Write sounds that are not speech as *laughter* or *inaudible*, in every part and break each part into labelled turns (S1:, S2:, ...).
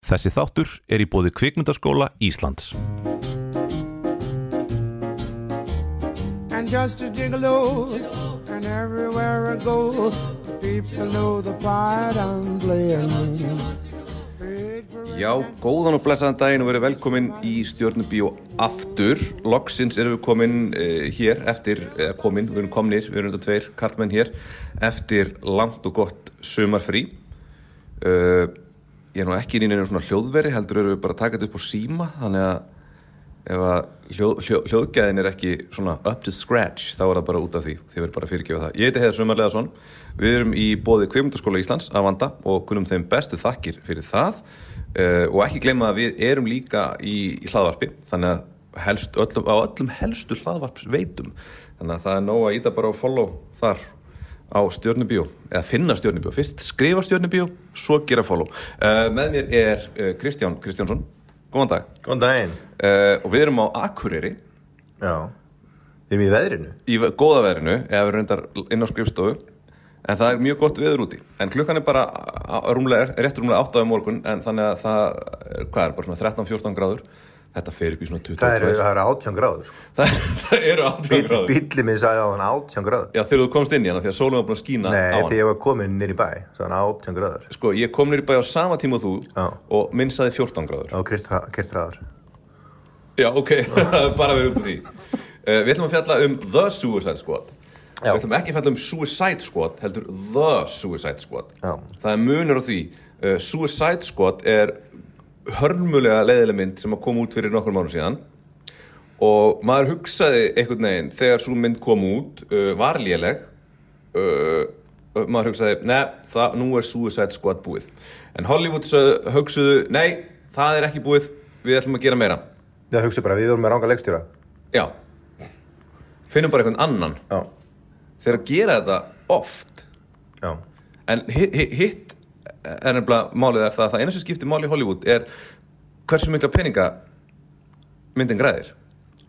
S1: Þessi þáttur er í bóði Kvikmyndaskóla Íslands.
S2: and just a gigolo, and everywhere I go, people know the part I'm playing. Paid for it.
S3: Já, góðan og blessaðan daginn og verið velkomin í Stjórnubíó aftur. Loksins erum við komin uh, hér eftir, eða komin, við erum komnir, við erum þetta tveir, karlmenn hér, eftir langt og gott sumarfrí. Uh, ég er nú ekki inn í neina svona hljóðveri, heldur erum við bara að taka þetta upp á síma, þannig að ef að hljóð, hljó, hljóðgæðin er ekki svona up to scratch, þá er það bara út af því, þið verður bara að fyrirgefa það. Ég heiti Heiðar Sumarleðason, við erum í bóði Kveimundurskóla Íslands að vanda og kunnum þeim bestu þakkir fyrir það. Uh, og ekki gleyma að við erum líka í, í hlaðvarpi þannig að helst, öllum, á öllum helstu hlaðvarps veitum þannig að það er nóg að íta bara og follow þar á stjórnubíó eða finna stjórnubíó, fyrst skrifa stjórnubíó svo gera follow uh, með mér er uh, Kristján Kristjánsson góðan dag
S4: Góðan daginn
S3: uh, og við erum á Akureyri
S4: Já Við erum í veðrinu
S3: í v- góða veðrinu eða við erum reyndar inn á skrifstofu en það er mjög gott veður úti en klukkan er bara á- á- rúmlega, rétt rúmlega 8 á morgun en þannig að það er- hvað er bara svona 13-14 gráður þetta fer upp í svona 22
S4: Það eru, það eru 18 gráður sko.
S3: *laughs* það, það eru 18
S4: Bíll-
S3: gráður
S4: Bíllinn minn sagði á hann 18 gráður
S3: Já, þegar þú komst inn í hana því að sólum var búin að skína á
S4: Nei,
S3: hana
S4: því ég var komin nýr í bæ Svo hann 18 gráður
S3: Sko, ég kom nýri bæði á sama tíma og þú
S4: Já.
S3: og minn sagði 14 gráður
S4: Og kirtraður
S3: Já, ok, *laughs* það er bara við upp á því uh, Við ætlum að fjalla um The Suicide Squad
S4: Já.
S3: Við ætlum ekki að fjalla um Suicide Squad heldur The Suicide Squad
S4: Já.
S3: Það er munur á því uh, Suicide Squad er hörmulega leiðileg mynd sem að koma út fyrir nokkur mánu síðan og maður hugsaði einhvern veginn þegar svo mynd kom út uh, var léleg uh, uh, maður hugsaði, ne, það, nú er Suicide Squad búið en Hollywood sögðu, hugsuðu, nei, það er ekki búið við ætlum að gera meira
S4: Það hugsa bara, við vorum með ranga leikstjóra
S3: já, finnum bara einhvern annan
S4: Já,
S3: þegar að gera þetta oft
S4: já
S3: en hi- hi- hitt er nefnilega málið er það að það eina sem skiptir máli í Hollywood er hversu mikla peninga myndin græðir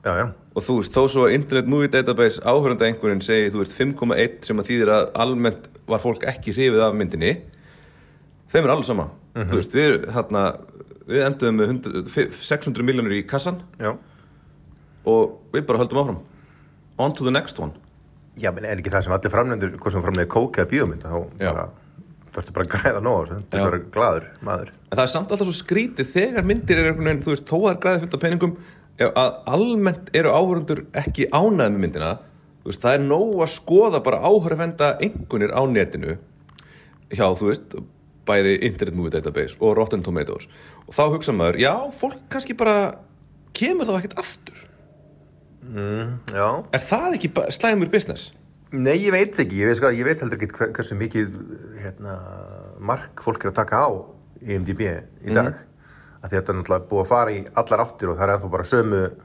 S4: Já, já,
S3: og þú veist, þó svo að Internet Movie Database áhörunda einhverjum segi þú veist 5,1 sem að þýðir að almennt var fólk ekki hrifið af myndinni þeim er alveg sama þú veist, við, þarna, við enduðum með 100, fi- 600 miljónur í kassan
S4: já
S3: og við bara höldum áfram on to the next one
S4: Já, menn er ekki það sem allir framlendur Hvað sem framlegir kók eða bíómynd Þá
S3: Já.
S4: bara, þú ertu bara að græða nóg á þessu Þú
S3: Já.
S4: ertu bara glaður, maður
S3: en það er samt alltaf svo skrítið þegar myndir er einhvern veginn, þú veist, þó að það er græði fullt af peningum ef að almennt eru áhörundur ekki ánæði með myndina þú veist, það er nóg að skoða bara áhörfenda einhvernir á netinu hjá, þú veist, bæði Internet Movie Database og Rotten Tomatoes og þá hugsa maður, já, fólk kannski bara kemur þá ekkert aftur
S4: Já
S3: er það ekki ba- slæmur business?
S4: Nei, ég veit ekki, ég veit, sko, ég veit heldur ekki hver, hversu mikið hérna, mark fólk er að taka á E í IMDb
S3: Mhm.
S4: í dag af því að þetta er náttúrulega búið að fara í allar áttir og það er ennþá bara sömu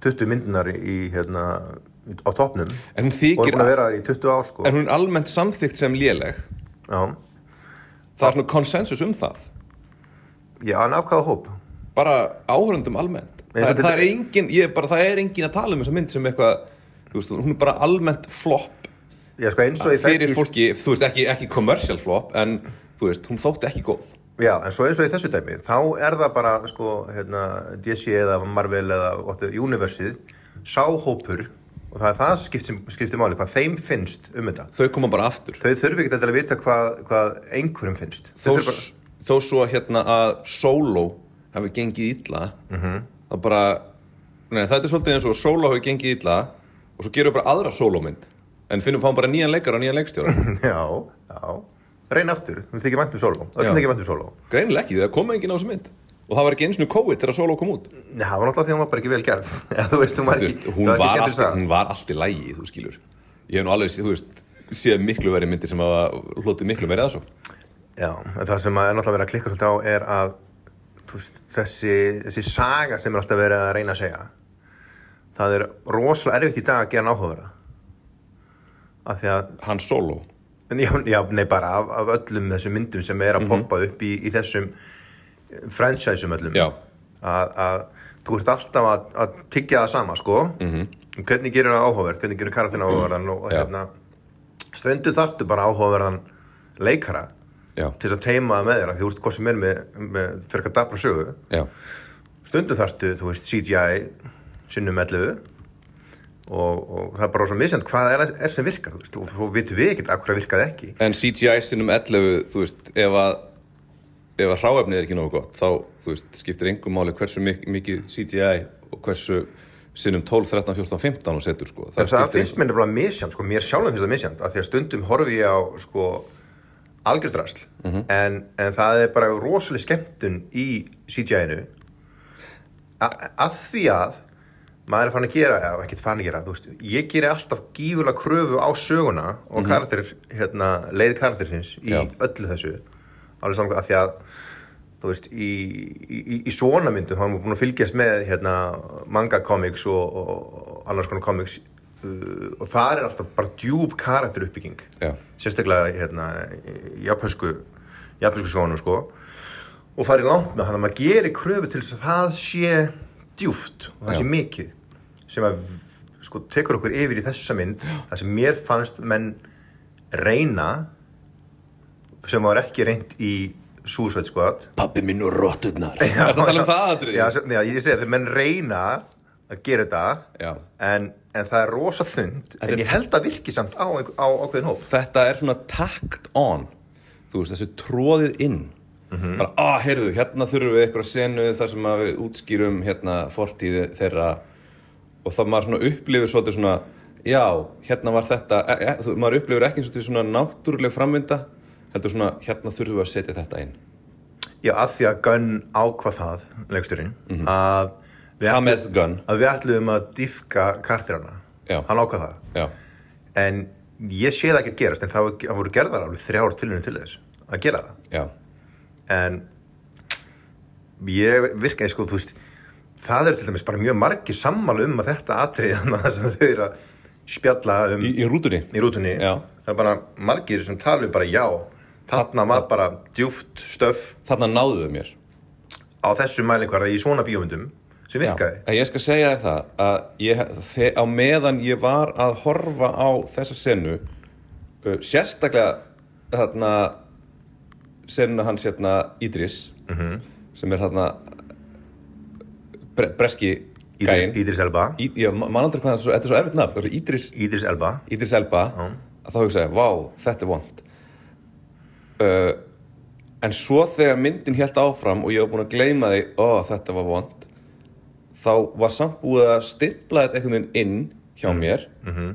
S4: 20 myndunar í, hérna, á topnum
S3: En hún
S4: og er
S3: þykir,
S4: búin að vera þar í 20 ár sko
S3: en hún er almennt samþygt sem léleg
S4: Já,
S3: það er svona konsensus um það
S4: já, en af hvaða hóp?
S3: bara áhörundum almennt
S4: Nei,
S3: það er,
S4: þetta-
S3: það, er engin, ég, er bara, það er engin að tala um þessa mynd sem eitthvað þú veist, hún er bara almennt flop
S4: Já, sko eins og í
S3: fyrir
S4: þætti-
S3: fólki, þú veist ekki, ekki commercial flop en þú veist, hún þótti ekki góð
S4: Já, en svo eins og í þessu dæmi, þá er það bara, sko, hérna, DC eða Marvel eða óttu, Universið, sáhópur, og það er það sem skiptir, skiptir máli, hvað þeim finnst um þetta.
S3: þau koma bara aftur
S4: Þau þurfi ekki að vita hvað, hvað einhverjum finnst.
S3: þó,
S4: Þau þurfa *laughs* bara,
S3: s- þó svo að, hérna að solo hafi gengið illa
S4: Mhm.
S3: það bara nei, það er svolítið eins og að solo hafi gengið illa og svo gerum við bara aðra solomynd en finnum fáum bara nýjan leikar og nýjan leikstjóra
S4: já, já. Reyna aftur, þú þykir vænt um solo.
S3: Já.
S4: Öll þykir vænt um solo.
S3: greinilega ekki, það kom engin á þessa mynd og það var ekki eins og COVID þegar solo kom út
S4: Nei, það var náttúrulega því að hún var bara ekki vel gerð. *laughs* Já, þú veist, hún
S3: þú
S4: var ekki,
S3: veist, hún
S4: það
S3: var,
S4: ekki
S3: allt,
S4: skemmtilegst það.
S3: hún var allt í lægi, þú skilur ég hef nú alveg, sé- þú veist séð miklu verið myndir sem hafa hlotið miklu meira eða svo
S4: Já, en það sem að er náttúrulega verið að klikka svolítið á er að þú veist, þessi, þessi saga sem er alltaf verið að reyna að segja það er rosalega erfitt í dag að gera náhugaverða af því að,
S3: hann solo,
S4: en já, já nei bara af, af öllum þessum myndum sem
S3: Mhm.
S4: er að poppa upp í, í þessum eh, franchise-um öllum
S3: Mm. Já.
S4: að, að þú ert alltaf að, að tyggja það sama sko -hmm. hvernig gerir það áhugaverð, hvernig hérna, gerir karakterin áhugaverðan og, og
S3: Já.
S4: hérna stundu þartu bara áhugaverðan leikara
S3: Já.
S4: til þess að teima það með þér af því þú ert hvað sem er með, með fyrir eitthvað dapra sögu
S3: já,
S4: stundu þartu, þú veist, CGI sinnum 11 og, og það er bara svo misjönd hvað er, er sem virkar, þú veist, og svo vitum við ekkert af hverju virkaði ekki
S3: en CGI sinnum 11 þú veist, ef að ef að hráefnið er ekki nógu gott þá, þú veist, skiptir engum máli hversu mik mikið CGI og hversu sinnum 12, 13, 14, 15 og setur sko,
S4: En það
S3: skiptir
S4: finnst mér nefnilega misjönd, sko, mér sjálfum finnst það misjönd af því að stundum horfi ég á, sko algjördrasl mm
S3: Mhm.
S4: en, en það er bara rosalega skemmtun í CGI-inu af því að maður er fann að gera, eða ekkert fann að gera þú veist, ég geri alltaf gífurlega kröfu á söguna og mm hérna, leið karaktersins í
S3: Mhm. Já.
S4: öllu þessu alveg saman af því að þú veist, í, í, í svona myndum þá erum við búin að fylgjast með hérna, manga comics og, og, og annars konar comics uh, og það er alltaf bara djúb karakter uppbygging
S3: Já.
S4: sérstaklega hérna, í japansku japansku sjónum sko og farið langt með hann að maður gerir kröfu til þess að það sé djúft og það
S3: Já.
S4: sé mikið sem að sko tekur okkur yfir í þessa mynd það sem mér fannst menn reyna sem var ekki reynt í Suicide Squad
S3: pappi minn og rotturnar er það að tala um það aðrið?
S4: Já, sem- já, ég segi að þeir menn reyna að gera þetta
S3: Já.
S4: en, en það er rosa þund
S3: er-
S4: en ég held að virki samt á, einhver- á ákveðin hóp
S3: þetta er svona tacked on þú veist, þessu tróðið inn bara, ah, heyrðu, hérna þurfum við eitthvað senu þar sem að við útskýrum hérna fortíð þeirra og það maður svona upplifir svolítið svona já, hérna var þetta e, e, þú- maður upplifir ekki svolítið svona náttúruleg framvinda heldur svona, hérna þurfum við að setja þetta inn
S4: Já, af því að Gunn ákvað það, leiksturinn, að, við
S3: Mhm. James Gunn.
S4: að við ætluðum að dýfka kartirana.
S3: Já.
S4: Hann ákvað það.
S3: já, en,
S4: Ég sé það ekkert gerast, en það var- það voru gerðar alveg þrjár tilhörnum til þess að gera það.
S3: já,
S4: En ég virkaði, sko, þú veist, það eru til dæmis bara mjög margir sammála um að þetta *laughs* atrið, þannig að þau eru að spjalla um
S3: í, í rútunni
S4: í rútunni
S3: Já.
S4: það er bara margir sem tala um bara já þarna var bara djúft stöf
S3: þarna náðuðu mér
S4: á þessu mælikvarða í svona bíómyndum sem
S3: Já,
S4: virkaði
S3: en ég skal segja þér það að ég, þe, á meðan ég var að horfa á þessa senu uh, sérstaklega þarna senuna hans hérna Idris sem er þarna bre, breski gæinn
S4: Ídris, Ídris Elba
S3: Í- ég man aldrei hvað það er svo, þetta er svo erfitt nafn þessi Idris,
S4: Ídris Elba
S3: Idris Elba að þá hugsa ég, vá, þetta er vond uh, en svo þegar myndin hélt áfram og ég var búin að gleyma því, ó, þetta var vond þá var samt búið að stimpla þetta einhvern veginn inn hjá mér,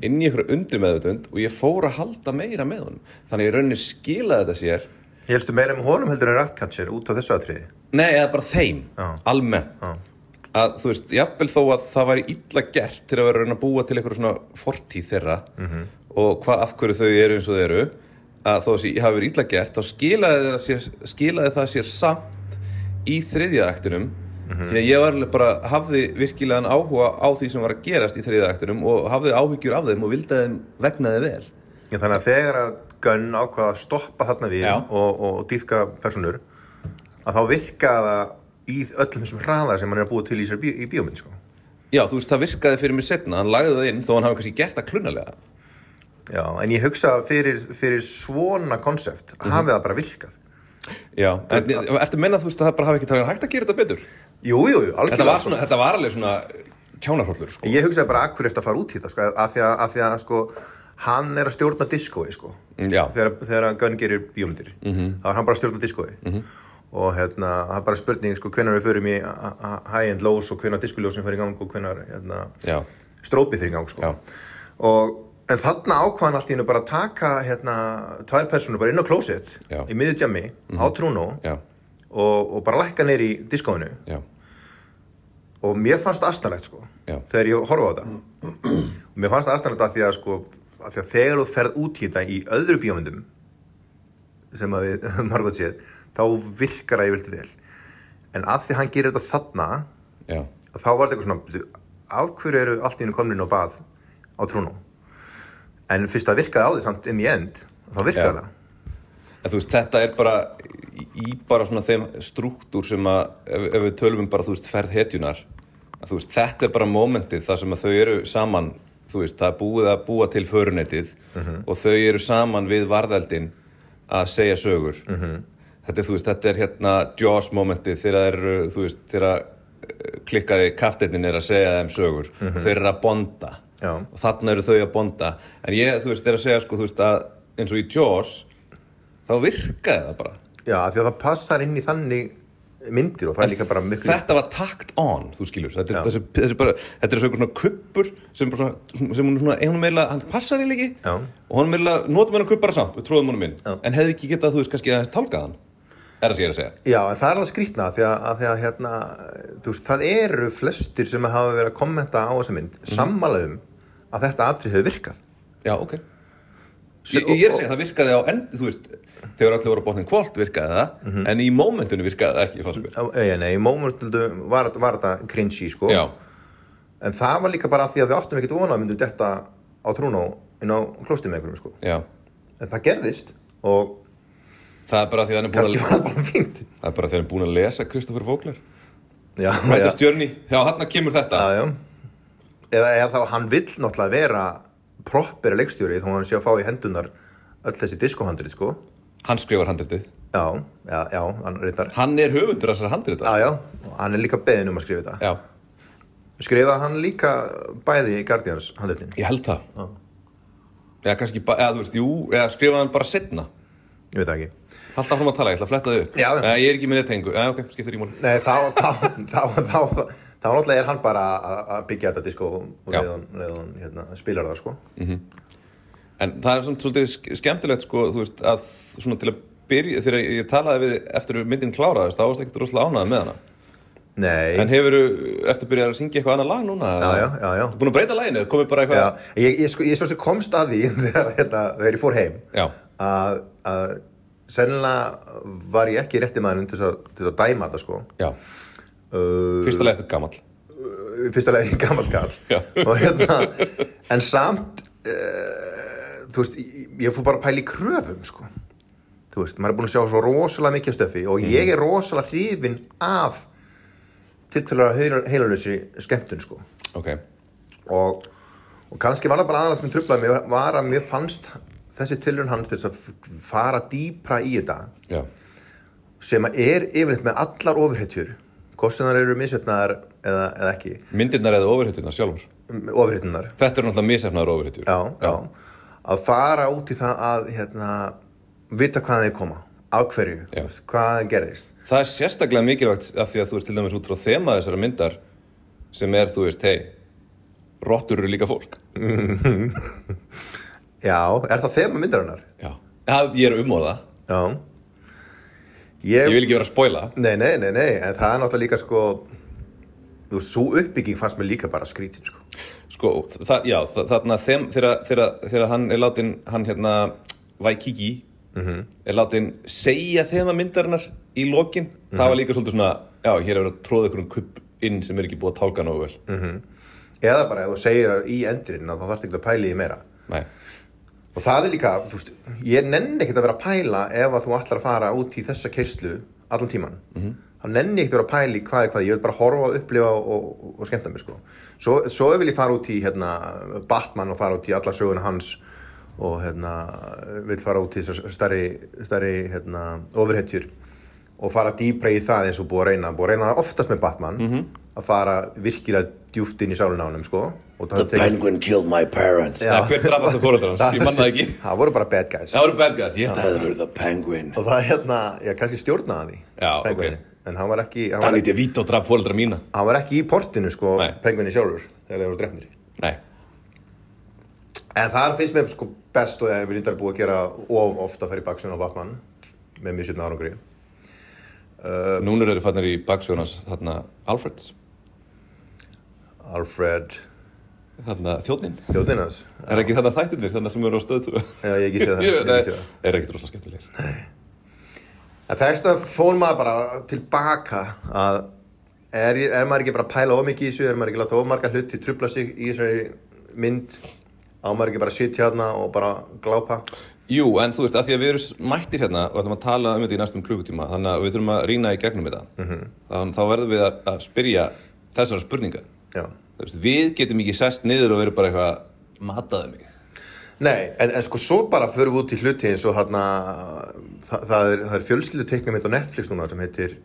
S3: inn í einhverju undri meðvitund og ég fór að halda meira með honum þannig að ég rauninni skilaði þetta sér
S4: Helstu meira um honum heldur en Ratcatcher út á þessu atriði
S3: Nei, eða bara þeim,
S4: Já.
S3: almennt að þú veist, jafnvel þó að það væri illa gert til að vera að reyna að búa til einhverju svona fortíð þeirra
S4: Mhm.
S3: -hmm. og hvað af hverju þau eru eins og þau eru að þó að það hafi verið illa gert þá skilaði, þeirra sér, skilaði það sér samt í þriðja ektinum
S4: Mhm.
S3: því að ég var alveg bara hafði virkilegan áhuga á því sem var að gerast í þriðja ektinum og hafði áhyggjur af þeim og vildi að þeim vegnaði vel
S4: Já, þannig að þegar að Gunn ákvað að stoppa þarna við
S3: Já.
S4: og, og dýfka personur að þá virka það í öllum þessum hraða sem hann er að búa til í, sér bí, í bíómynd sko.
S3: Já, þú veist, það virkaði fyrir mig setna hann lagði það inn þó hann hafi kannski gert það klunnalega
S4: Já, en ég hugsa að fyrir, fyrir svona konsept
S3: Mhm.
S4: hafi það bara virkað
S3: Já, en ertu að menna þú veist að það bara hafi ekki talað um hægt að gera þetta betur?
S4: Jú, jú, jú, algjörlega
S3: Þetta var,
S4: sko.
S3: svona, þetta var alveg svona kjánarhóllur sko.
S4: Ég hugsaði bara að hverju eftir að fara út í þetta sko, af því að, að, því að sko, hann er að stjórna diskói sko.
S3: Já.
S4: þegar, þegar hann Gunn gerir bíómyndir -hmm.
S3: Mhm.
S4: þá er hann bara að stjórna diskói -hmm. og hérna, það er bara spurning sko, hvenær við förum í a- a- high end lows og hvenær diskuljósin fyrir í gang og hvenær hérna,
S3: Já,
S4: strópið fyrir í gang sko.
S3: Já.
S4: og En þarna ákvaðan allt í hennu bara að taka hérna, tvær persónur bara inn á klósett
S3: Já. Mhm.
S4: í miðið djammi á trúnó
S3: já,
S4: og, og bara lækka neyri í diskóinu
S3: já,
S4: og mér fannst það astanlegt sko
S3: Já.
S4: þegar ég horfa á þetta og mér fannst það astanlegt af því að sko af því að þegar þú ferð út í þetta í öðru bíómyndum sem að við *laughs* margótt séð þá virkar það yfirlt vel en af því að hann gerir þetta þarna
S3: já,
S4: að þá var þetta eitthvað svona "Bíddu, af hverju eru allt í hennu komnin og bað á trúnum en fyrst það virkaði á því samt inn í end þá
S3: Já.
S4: virkaði það
S3: En þú veist, þetta er bara í- í bara svona þeim struktúr sem að ef, ef við tölum um bara, þú veist, ferð hetjunar að þú veist, þetta er bara momentið þar sem að þau eru saman, þú veist, það er búið að búa til förunetið og þau eru saman við varðeldin að segja sögur -hmm. þetta, er, þú veist, þetta er hérna Jaws momenti þegar það eru, þú veist, þegar eh, klikkaði kaftinnin er að segja þeim sögur þeir eru að bonda
S4: Já.
S3: og þarna eru þau að bonda en ég, þú veist, er að segja sko, þú veist, að eins og í Jaws þá virkaði það bara
S4: Já, af því að það passar inn í þannig myndir og það er líka bara miklu
S3: þetta var takt on, þú skilur þetta er,
S4: Já.
S3: þessi, þessi bara, þetta er svona kuppur sem, bara svona, sem hún, svona, hún meila, hann passar eiginlega ekki
S4: Já.
S3: og hann meila, notum hennar kuppara samt við tróðum honum inn,
S4: Já.
S3: en hefði ekki getað þú veist kannski að tálkað hann, er það sem ég er að segja
S4: Já, en það er alveg skrýtna af því að, að, því að hérna, þú veist, það eru flestir sem hafa verið að kommenta á þessa mynd
S3: Mhm.
S4: sammála um að þetta atrið hefur virkað
S3: já, ok ég, ég er að segja, það virkaði á endi, þú veist þegar allir voru á botnin kvólt virkaði það
S4: Mhm.
S3: en í mómentinu virkaði það ekki, fannst mér
S4: Á- eh, Nei, í mómentundu var, var þetta cringy, sko
S3: já,
S4: En það var líka bara af því að við áttum ekkert vona að myndu detta á trúnó inn á klóstum með einhverjum, sko
S3: já,
S4: En það gerðist og
S3: það er bara því að hann er búin
S4: kannski
S3: að
S4: var það bara fínt
S3: það er bara því að hann er búin að lesa Kristoffer Vogler
S4: Já,
S3: Þetta
S4: já,
S3: er stjörni, já, hann kemur þetta
S4: já, já. Eða, eða þá hann vill náttúrulega vera proper leikstjóri þó hann sé að fá í hendunar öll þessi diskohandrið, sko
S3: hann skrifar handritið
S4: Já, já, já, hann reyndar
S3: Hann er höfundur þessar handrita
S4: Já, já, og hann er líka beðin um að skrifa þetta
S3: Já,
S4: Skrifaði hann líka bæði í Guardians handleitin
S3: ég held það Já, kannski bara, eða þú veist, jú, eða skrifaði hann bara setna
S4: Ég veit það ekki
S3: Haldt áfram að tala, ég ætla að fletta þau upp
S4: Já.
S3: Eða, Ég er ekki með nettengu, eða ok, skiptir í múli
S4: Nei, þá, þá, þá, þá, þá, þá, náttúrulega er hann bara að- að byggja þetta disko og
S3: Já.
S4: leiðan, leiðan, hérna, spilar það, sko
S3: En það er samt svolítið sk- skemmtilegt, sko, þú veist, að svona til að byrja Þegar ég talaði við eftir að myndin kláraðist, þá varst ekkert rosalega ánæði með hana
S4: Nei,
S3: En hefur eftir að byrja að syngja eitthvað annað lag núna?
S4: já, já, já, já
S3: Búin að breyta laginu, komið bara
S4: Já,
S3: eitthvað
S4: ég, ég, sko, ég svo sem komst að því *laughs* þegar, hérna, þegar ég fór heim
S3: Já.
S4: að, að sennilega var ég ekki rétti maðurinn til þess að, til þess að dæma þetta sko
S3: Já,
S4: uh,
S3: fyrsta lag eftir gamall
S4: fyrsta leið í gammal kall
S3: Já.
S4: og hérna en samt uh, þú veist, ég, ég fór bara að pæla í kröfum sko þú veist, maður er búin að sjá svo rosalega mikið af stöfi og ég er rosalega hrifin af tiltalega heilalösi skemmtun sko
S3: Ok,
S4: og, og kannski var það bara aðalega sem trublaði mig var að mér fannst þessi tilrun hans til þess að f- fara dýpra í þetta
S3: já,
S4: sem að er yfirleitt með allar ofurhetjur hvort sem þar eru misjöfnaðar eða, eða ekki
S3: myndirnar eða ofurhettunar sjálfur
S4: m- ofurhetjurnar
S3: Þetta eru náttúrulega misefnaður ofurhettur
S4: já, já. að fara út í það að hérna, vita hvaðan þeir koma af hverju,
S3: Já.
S4: hvaðan gerðist
S3: Það er sérstaklega mikilvægt af því að þú veist til dæmis út frá þema þessara myndar sem er, þú veist, hei, rottur eru líka fólk.
S4: já, er það þema myndir hennar?
S3: Já. Það, ég er um á það.
S4: já
S3: Ég vil ekki vera að spoila.
S4: Nei, nei, nei, nei, en það er náttúrulega líka sko þú veist, svo uppbygging fannst mér líka bara skrítin sko.
S3: Sko, það, já, það, þarna þeim, þegar, þegar, þegar hann er látin, hann hérna, Waikiki, er látin segja þema myndarinnar í lokin, það var líka svolítið svona, já, hér er verið að tróða ykkur um kupp inn sem er ekki búið að tálka nógu vel.
S4: eða bara ef þú segir það í endurinn að þá þarf ekki að pæla í því meira
S3: Nei.
S4: og það er líka, þú veist, ég nenni ekkert að vera að pæla ef að þú ætlar að fara út í þessa keislu allan tíman þá nenni ég ekkert að vera að pæla í hvað er hvað ég vil bara horfa, upplifa og, og, og skemmta mig sko. svo, svo vil ég fara út í hérna, Batman og fara út í alla söguna hans og hérna vil fara út í þessar starri, starri hérna, ofurhetjur og fara dýpra í það eins og búið að reyna búið að reyna það oftast með Batman að fara virkilega djúft inn í sálun á honum sko, og það, tekið,
S5: Penguin killed my parents.
S3: Það hver draf alltaf fóröldar hans, ég manna það ekki. *laughs*
S4: það voru bara bad guys
S3: Það voru bad guys, ég ætla
S5: Feather the Penguin.
S4: og það er hérna, já, kannski stjórnaði hann því
S3: Já,
S4: Penguinni. en hann var ekki hann var,
S3: Danny DeVito draf fóröldra mína
S4: hann var ekki í portinu sko,
S3: Nei.
S4: pengunni sjálfur þegar þeir voru drefnir
S3: Nei,
S4: en það finnst mér sko best og ég vil eitthvað búið að gera of ofta að fara í baksun á Batman með mjög sérna árangri
S3: núna eru þeir fannir í baksjónas þarna Alfreds
S4: Alfred
S3: þarna þjóðnin,
S4: Þjóðinans
S3: er ekki þarna þættinir þarna sem eru á stöðtu
S4: Já, ég hef ekki séð
S3: *laughs*
S4: það, ég hef ekki séð það.
S3: er ekki rosa skemmtilegir
S4: en þess að fór maður bara tilbaka að er, er maður ekki bara að pæla of mikið í þessu er maður ekki að láta of marga hluti trubla sig í þessari mynd á maður ekki bara að sitja hérna og bara glápa
S3: Jú, en þú veist, að því að við erum mættir hérna og ætlum að tala um þetta í næstum klukkutíma þannig að við þurfum að rýna í gegnum þetta þannig þá verðum við að, að spyrja þessara spurninga
S4: já
S3: Þú veist, við getum ekki sest niður og verið bara eitthvað mataðu mig
S4: Nei, en, en sko svo bara förum við út í hluti eins og hérna það, það er, það er fjölskyldu teiknum á Netflix núna sem heitir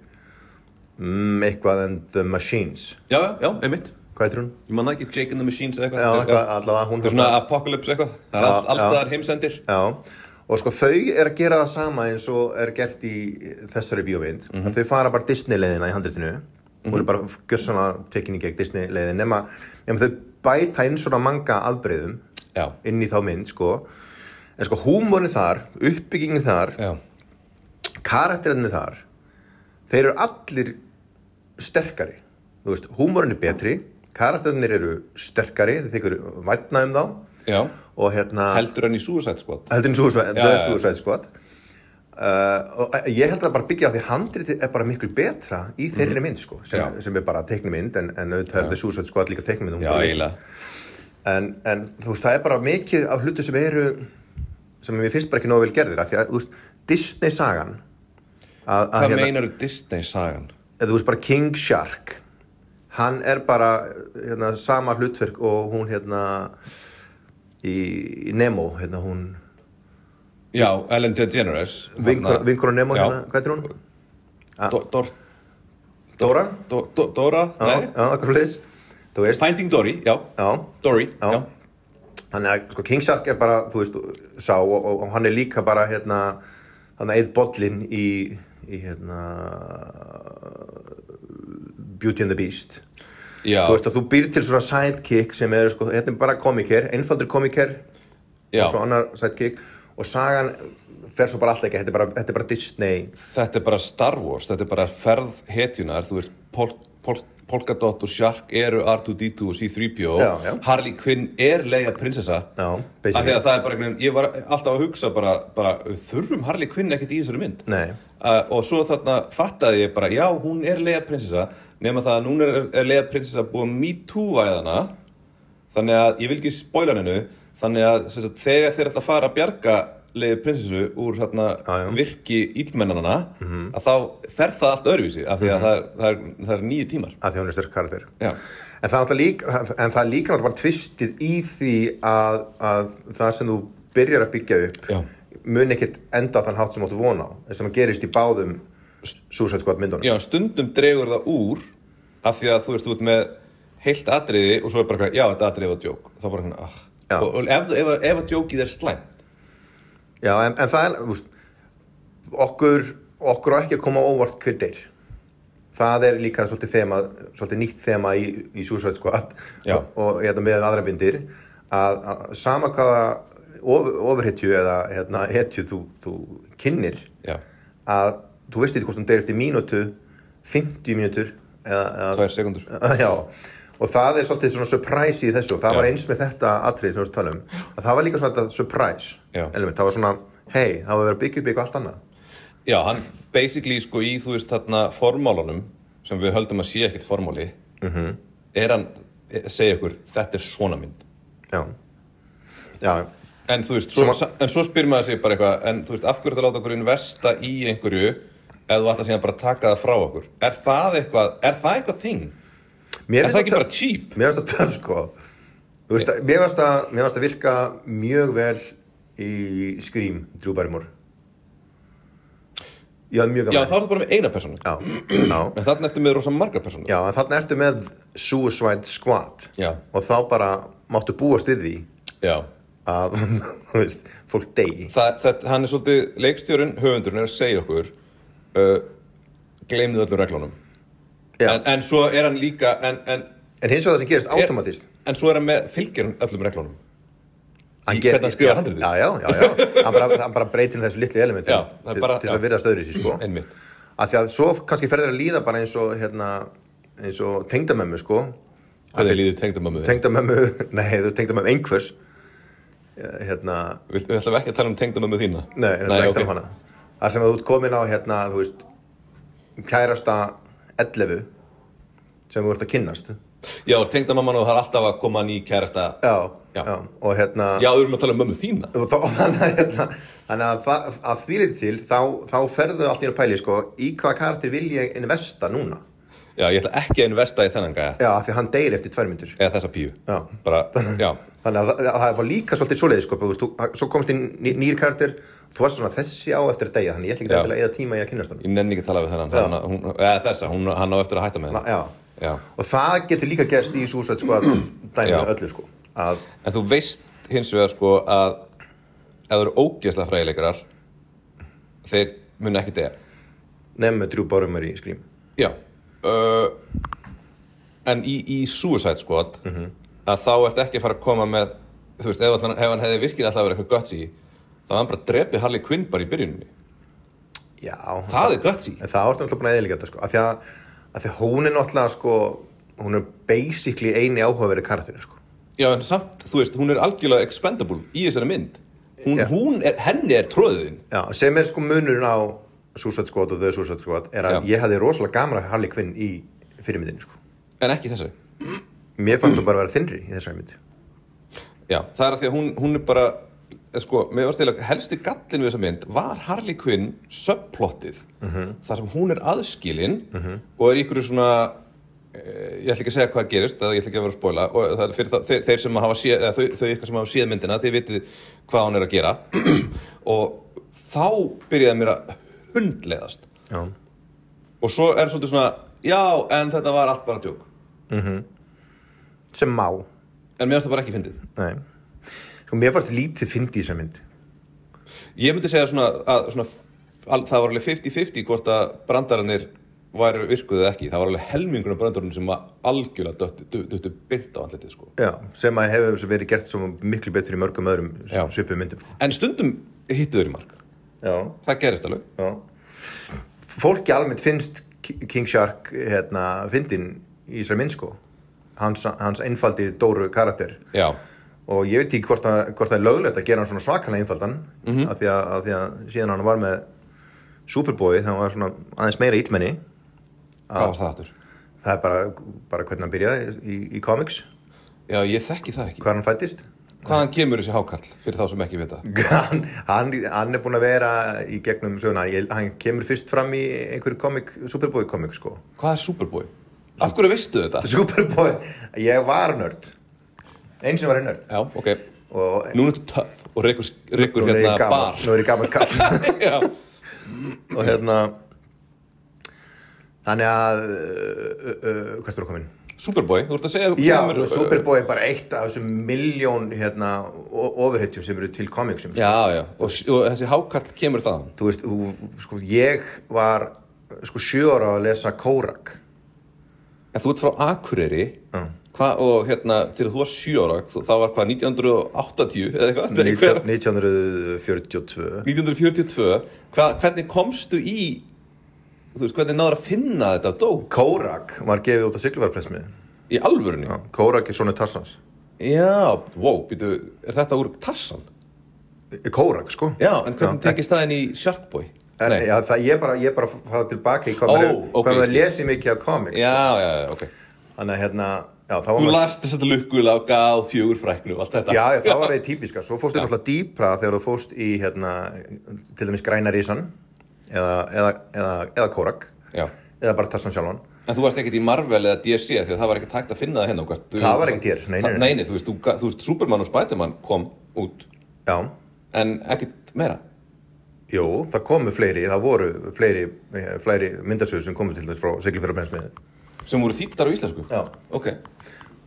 S4: mm, eitthvað and the Machines
S3: Já, já, já, einmitt
S4: Hvað heitir hún?
S3: Ég man það ekki, Jake and the Machines eða
S4: Já,
S3: eitthvað
S4: eitthvað, allavega hún
S3: Þetta er svona apocalypse eitthvað Það er
S4: Já,
S3: alls, alls
S4: já.
S3: staðar heimsendir
S4: Já, og sko þau er að gera það sama eins og er gert í þessari bíómynd mm
S3: Mhm.
S4: Þau fara bara Disney-leiðina í handritinu og eru bara gjössanlega tekinni gegn Disney-leiðin nema, nema þau bæta inn svona manga afbreyðum
S3: Já,
S4: inn í þá mynd sko en sko húmónin þar, uppbyggingin þar
S3: já,
S4: karakterinni þar þeir eru allir sterkari þú veist, húmórin er betri karakterinir eru sterkari þeir þykir vætna um þá
S3: já
S4: og hérna
S3: Heldur hann í Suicide Squad
S4: heldur en Suicide
S3: Já, já,
S4: The
S3: já.
S4: Suicide Squad uh, og ég held að bara byggja á því handriti er bara miklu betra í þeirri mynd sko,
S3: Mhm. Já.
S4: sem, sem er bara teiknumynd en, en auðvitað er The Suicide Squad líka teiknumynd hún
S3: Já,
S4: bara leik-
S3: eiginlega
S4: en, en þú veist, það er bara mikið af hlutu sem eru sem mér finnst bara ekki nógu vel gerðir af því að, þú veist, Disney-sagan að, að
S3: Hvað
S4: hérna-
S3: meinar Disney-sagan?
S4: eða þú veist bara King Shark hann er bara hérna, sama hlutverk og hún hérna í, í Nemo hérna hún
S3: Já, Ellen DeGeneres
S4: vinkona
S3: Þarna-
S4: vinkona Nemo
S3: Já.
S4: hérna, hvað heitir hún?
S3: Dor- Dor-
S4: Dora?
S3: Dor- Dor- Dora?
S4: Já,
S3: Nei,
S4: já, eitthvað fleis þú veist,
S3: Finding Dory, já
S4: já
S3: Dory,
S4: Já.
S3: já
S4: Þannig að sko, King Shark er bara, þú veist, sá og, og, og hann er líka bara, hérna, þannig að einn bollin í, í, hérna, Beauty and the Beast.
S3: Já,
S4: Þú veist að þú býr til svona sidekick sem er, sko, hérna er bara komiker, einfaldur komiker,
S3: já
S4: og svo annar sidekick og sagan fer svo bara alltaf ekki, þetta er bara, þetta er bara Disney.
S3: Þetta er bara Star Wars, þetta er bara ferð hetjunar, þú veist, Pol Pol Polkadot og Shark eru R2-D2 og C-3PO,
S4: Já, já.
S3: Harley Quinn er Leia prinsessa,
S4: Já,
S3: af því
S4: basically.
S3: að það er bara, einhvern veginn- ég var alltaf að hugsa bara, bara við þurfum Harley Quinn ekkert í þessari mynd?
S4: Nei.
S3: Uh, og svo þarna fattaði ég bara, já, hún er Leia prinsessa, nema það að núna er, er Leia prinsessa búið að me too væðana, þannig að ég vil ekki spoila hennu, þannig að sem sagt, þegar þeir ætla að fara að bjarga Leia prinsessu úr þarna
S4: Já, Mhm. já.
S3: virki ílmennanana, að þá fer það allt öðruvísi, af því
S4: Mhm.
S3: að það, er, það, er, það er nýju tímar.
S4: að því að hún er sterk karakter
S3: Já.
S4: en það, er náttúrulega líka, en það er líka náttúrulega bara tvistið í því að, að það sem þú byrjar að byggja upp
S3: Já.
S4: mun ekkert enda á þann hátt sem áttu von á sem gerist í báðum Suicide Squad myndunum
S3: Já, stundum dregur það úr, af því að þú veist, þú ert með heilt atriði og svo er bara, eitthvað, já, þetta atriði var djók, þá bara hann, ah,
S4: Já.
S3: og, og ef, ef, ef að djókið er slæmt,
S4: Já, en, en það er þú veist, okkur, okkur á ekki að koma á óvart hver deyr það er líka svolítið, þema, svolítið nýtt þema í, í Suicide Squad
S3: Já.
S4: og, og hérna, með aðra bindir að, að sama hvaða of, ofurhetju eða hérna, hetju þú, þú kynnir
S3: Já,
S4: að þú veist ekki hvort hún deyr eftir mínútu 50 mínútur eða, eða,
S3: tvær sekundur
S4: *laughs* já, og það er svolítið svona surprise í þessu og það
S3: Já.
S4: var eins með þetta atrið sem við erum að tala um að það var líka svona þetta surprise
S3: Já.
S4: element, það var svona, hei, það var verið að byggja upp í eitthvað allt annað
S3: Já, hann basically sko í þú veist þarna formálunum sem við höldum að sé ekkert formáli Mhm. er hann, eh, segja ykkur þetta er svona mynd
S4: já, já,
S3: en þú veist, svo,
S4: Sem
S3: en svo spyr maður sig bara eitthvað en þú veist, af hverju það láta okkur investa í einhverju ef þú ætla síðan bara að taka það frá okkur er það eitthvað, er það eitthvað þing?
S4: mér
S3: Er það
S4: finnst
S3: ekki bara cheap?
S4: mér finnst það töf, sko Þú veist, að- mér finnst það, mér finnst það virka mjög vel í Scream, Drew Barrymore já,
S3: Já,
S4: mjög gaman
S3: þá er það bara með eina persónu
S4: já, já
S3: en þarna ertu með rosa marga persónu
S4: Já, en þarna ertu með Suicide Squad
S3: Já.
S4: og þá bara máttu búast við því
S3: Já.
S4: að, *laughs* þú veist, fólk degi
S3: það, það, hann er svolítið leikstjórun, höfundurinn er að segja okkur uh, gleymið öllu reglunum
S4: Já.
S3: en, en svo er hann líka en, en,
S4: En hins vegar það sem gerist automatist
S3: en svo er hann með fylgjur öllum reglunum Í
S4: ger-
S3: hvernig hann skrifar handritið?
S4: Já, já, já, já. hann, bara, hann bara breytir þessu litlu elementin
S3: Já, það er
S4: til,
S3: bara-
S4: til þess að
S3: já.
S4: virðast öðru sér, sko
S3: *clears throat* einmitt
S4: Af því að svo kannski ferðir að líða bara eins og, hérna, eins og tengdamömmu, sko
S3: hvernig líður tengdamömmu þinn?
S4: Tengdamömmu, *laughs* nei, þú er tengdamömmu einhvers Eh, Hérna,
S3: Við, við ætlum ekki að tala um tengdamömmu þína
S4: Nei, það er
S3: ok.
S4: ekki um hana Það sem að þú ert komin á hérna, þú veist kærasta 11 sem þú ert að kynnast Já,
S3: Já, tengdamamman og það er alltaf að koma ný kærasta Já.
S4: já og hérna
S3: Já, við erum að tala um mömmu þína
S4: og þá, *laughs* þannig að, hérna, þannig að, það- að því liti til þá, þá ferðu allt í einu pæli sko, í hvaða karakter vil ég investa núna
S3: Já, ég ætla ekki að investa í þennan gæja
S4: Já, af því að hann deyr eftir tvær myndur
S3: eða þessa píu
S4: Já.
S3: bara, já,
S4: Þannig að, að, það var líka svolítið svoleiðis sko, þú veist, þú, svo komst inn ný, nýr karakter þú varst svona þessi á eftir að deyja þannig ég ætla ekki
S3: Já.
S4: endilega að eða tíma í að kynast honum
S3: ég nenni ekki að tala við þennan þannig að hún, eða þessa, hún, hann á eftir að hætta með
S4: Na-
S3: henni
S4: Já.
S3: Já.
S4: Og það getur líka gerst í Suicide
S3: *clears throat*
S4: Squad dæminu
S3: Já.
S4: öllu sko að,
S3: en þú veist hins vegar sko að ef þú eru ógeðslega fræðileikarar þeir munu ekki degja
S4: nefnum með drjú bárumar um í skrím
S3: já uh, en í, í Suicide Squad að þá ert ekki að fara að koma með þú veist, ef, allan, ef hann hefði virkið alltaf verið eitthvað gutsy þá hann bara drepið Harley Quinn bara í byrjuninni
S4: Já,
S3: það er gutsy
S4: En það ástæðan alltaf búin að eðilega þetta sko af því að, af því að hún er náttúrulega sko hún er basically eini áhugaveri karakterin sko
S3: já en samt, þú veist, hún er algjörlega expendable í þessari mynd hún,
S4: Já.
S3: hún er, henni er tróðin
S4: Já, sem er sko munurinn á Suicide Squad og The Suicide Squad er að
S3: Já.
S4: ég hefði rosalega gaman að Harley Quinn í fyrirmyndinni sko
S3: en ekki þessi
S4: Mér fannst hún bara að vera þinnri í þessari myndi
S3: Já, það er að því að hún, hún er bara eh, sko, mér varst eiginlega helsti gallin við þessa mynd var Harley Quinn subplottið þar sem hún er aðskilin og er í ykkur svona eh, ég ætla ekki að segja hvað gerist eða ég ætla ekki að vera að spóla og það er fyrir það, þeir, þeir sem hafa séð eða þau, þau ykkar sem hafa séð myndina, þið vitið hvað hún er að gera og þá byrjaði mér að hundleðast
S4: Já,
S3: og svo er svolítið svona já, en þetta var allt bara djók
S4: sem má
S3: en mér varst það bara ekki fyndið
S4: Nei Sko mér fannst lítið fyndi í þessari myndi
S3: Ég myndi segja svona að svona, al, það var alveg 50-50 hvort að brandararnir væru virkuð eða ekki. Það var alveg helmingur af brandararnir sem var algjörlega döttu, dö- döttu bynd á andlitið sko.
S4: Já, sem að hefur verið gert svo miklu betur í mörgum öðrum
S3: Já.
S4: svipu myndum sko.
S3: En stundum hittu þeir í mark.
S4: Já,
S3: Það gerist alveg.
S4: já Fólki almennt finnst Ki- King Shark hérna, fyndin í þessari mynd sko hans, hans einfaldi dóru karakter
S3: Já,
S4: og ég veit ekki hvort, að, hvort það er löglegt að gera hann svona svakalega einfaldan af, því að, af því að síðan hann var með Superboy þegar hann var svona aðeins meira ítmenni
S3: hvað var það aftur?
S4: það er bara, bara hvernig hann byrjaði í, í comics,
S3: Já, ég þekki það ekki.
S4: hvað hann fættist *laughs*
S3: Hvaðan kemur þessi hákarl fyrir þá sem ekki vita?
S4: hann, hann, hann er búinn að vera í gegnum söguna, ég, hann kemur fyrst fram í einhverju komik, Superboy komik sko
S3: Hvað er Superboy? Af hverju veistu þetta?
S4: Superboy, ég var nörd eins og var ég nörd
S3: Já, ok.
S4: og
S3: Nú ertu töff og reykur, reykur
S4: nú er
S3: hérna
S4: ég gamall-
S3: bar.
S4: nú er ég gammal kaff
S3: *laughs* Já,
S4: og hérna þannig að uh, uh, uh, hvert er það komin?
S3: Superboy, þú ert að segja
S4: Já,
S3: kemur-
S4: Superboy er bara eitt af þessum miljón hérna, overhittjum sem eru til komiksum
S3: Já, já, og, og þessi hákarl kemur þaðan.
S4: þú veist, þú, sko, ég var sko sjö ára að lesa Kórak
S3: En þú ert frá Akureyri hva, og hérna, þegar þú var 7 ára þú- það var hvað, 1980 eða eitthvað, Nei, hver-
S4: 1942
S3: 1942 hva, hvernig komstu í þú veist, hvernig náður að finna þetta dó
S4: Kórak var gefið út á Siglufærpressmi
S3: í alvörunni? Já,
S4: Kórak er svona Tarsans
S3: wow, býtu, er þetta úr Tarsan?
S4: Kórak, sko
S3: Já, en hvernig
S4: Já,
S3: tekist það inn í Sharkboy?
S4: en,
S3: Nei,
S4: já, það, ég, bara, ég bara fara tilbaka í hvað
S3: Ó,
S4: maður,
S3: ok,
S4: hvað
S3: skil.
S4: maður lesi mikið á komik
S3: já, já, já, ok
S4: þannig að hérna já, þá var
S3: Þú
S4: maður-
S3: lærst þess að lukkuláka og fjögur fræknu og allt þetta
S4: Já, það var það típiska. Svo fórstu náttúrulega dýpra þegar þú fórst í, hérna, til dæmis Græna Rísan eða, eða, eða, eða Kórak
S3: Já.
S4: eða bara Tassan sjálfan.
S3: En þú varst ekkert í Marvel eða DC því að það var ekkert hægt að finna það hérna þú gast-
S4: Það var ekkert hér, nei, nei,
S3: Það-
S4: nei.
S3: þú veist, þú, ga- þú veist, Superman og Spiderman kom út
S4: Já,
S3: en ekkert meira
S4: jú, það komu fleiri, það voru fleiri, eh, fleiri myndasögur sem komu til dæmis frá Siglifjörður brennsmiði.
S3: sem voru þýttar á íslensku
S4: Já.
S3: Ok,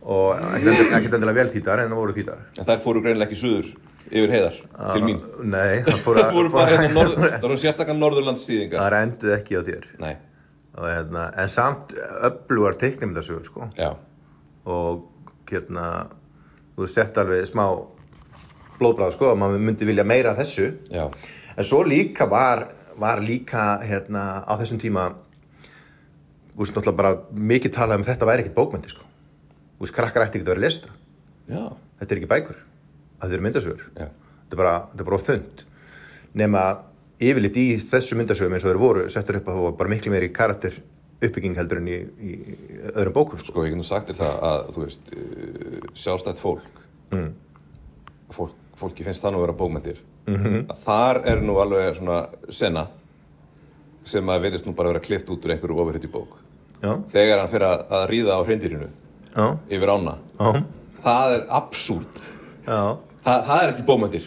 S4: Og
S3: *gasps*
S4: ekkert endilega, ekkert endilega vel þýtar en það voru þýtar.
S3: en þær fóru greinilega ekki suður yfir heiðar
S4: Ah.
S3: til mín
S4: *laughs* Nei, það fóru
S3: *laughs* Það voru bara
S4: *laughs*
S3: hérna
S4: það
S3: norður, það voru sérstakann norðurlandsýðingar
S4: það enduð ekki á þér.
S3: Nei,
S4: Og, hérna, en samt öflugar teiknumyndasögur, sko.
S3: já,
S4: og hérna þú sett alveg smá blóðbráð sko að maður myndi vilja meira af þessu
S3: já
S4: en svo líka var, var líka hérna á þessum tíma þú veist náttúrulega bara mikið talað um þetta væri ekkert bókmyndi sko þú veist krakkar ætti ekki að vera að lesa þetta.
S3: Já,
S4: þetta er ekki bækur að þetta eru myndasögur
S3: já,
S4: þetta er bara, þetta er bara þund nema yfirleitt í þessu myndasögum eins og þeir voru settur upp að það var bara miklu meiri karakter uppbygging heldur en í, í í öðrum bókum sko.
S3: sko ég getum sagt til það að þú veist, eh, sjálfstætt fólk
S4: Mm.
S3: fólk, fólki finnst það nú að vera bókmyndir
S4: Mhm.
S3: -hmm. að þar er nú alveg svona sena sem að verðist nú bara vera klift út úr einhverju ofurhætti bók
S4: Já.
S3: þegar hann fyrir að ríða á hreindirinu
S4: Já.
S3: yfir ána
S4: Já.
S3: það er absúrt
S4: Já.
S3: það, það er ekki bómöndir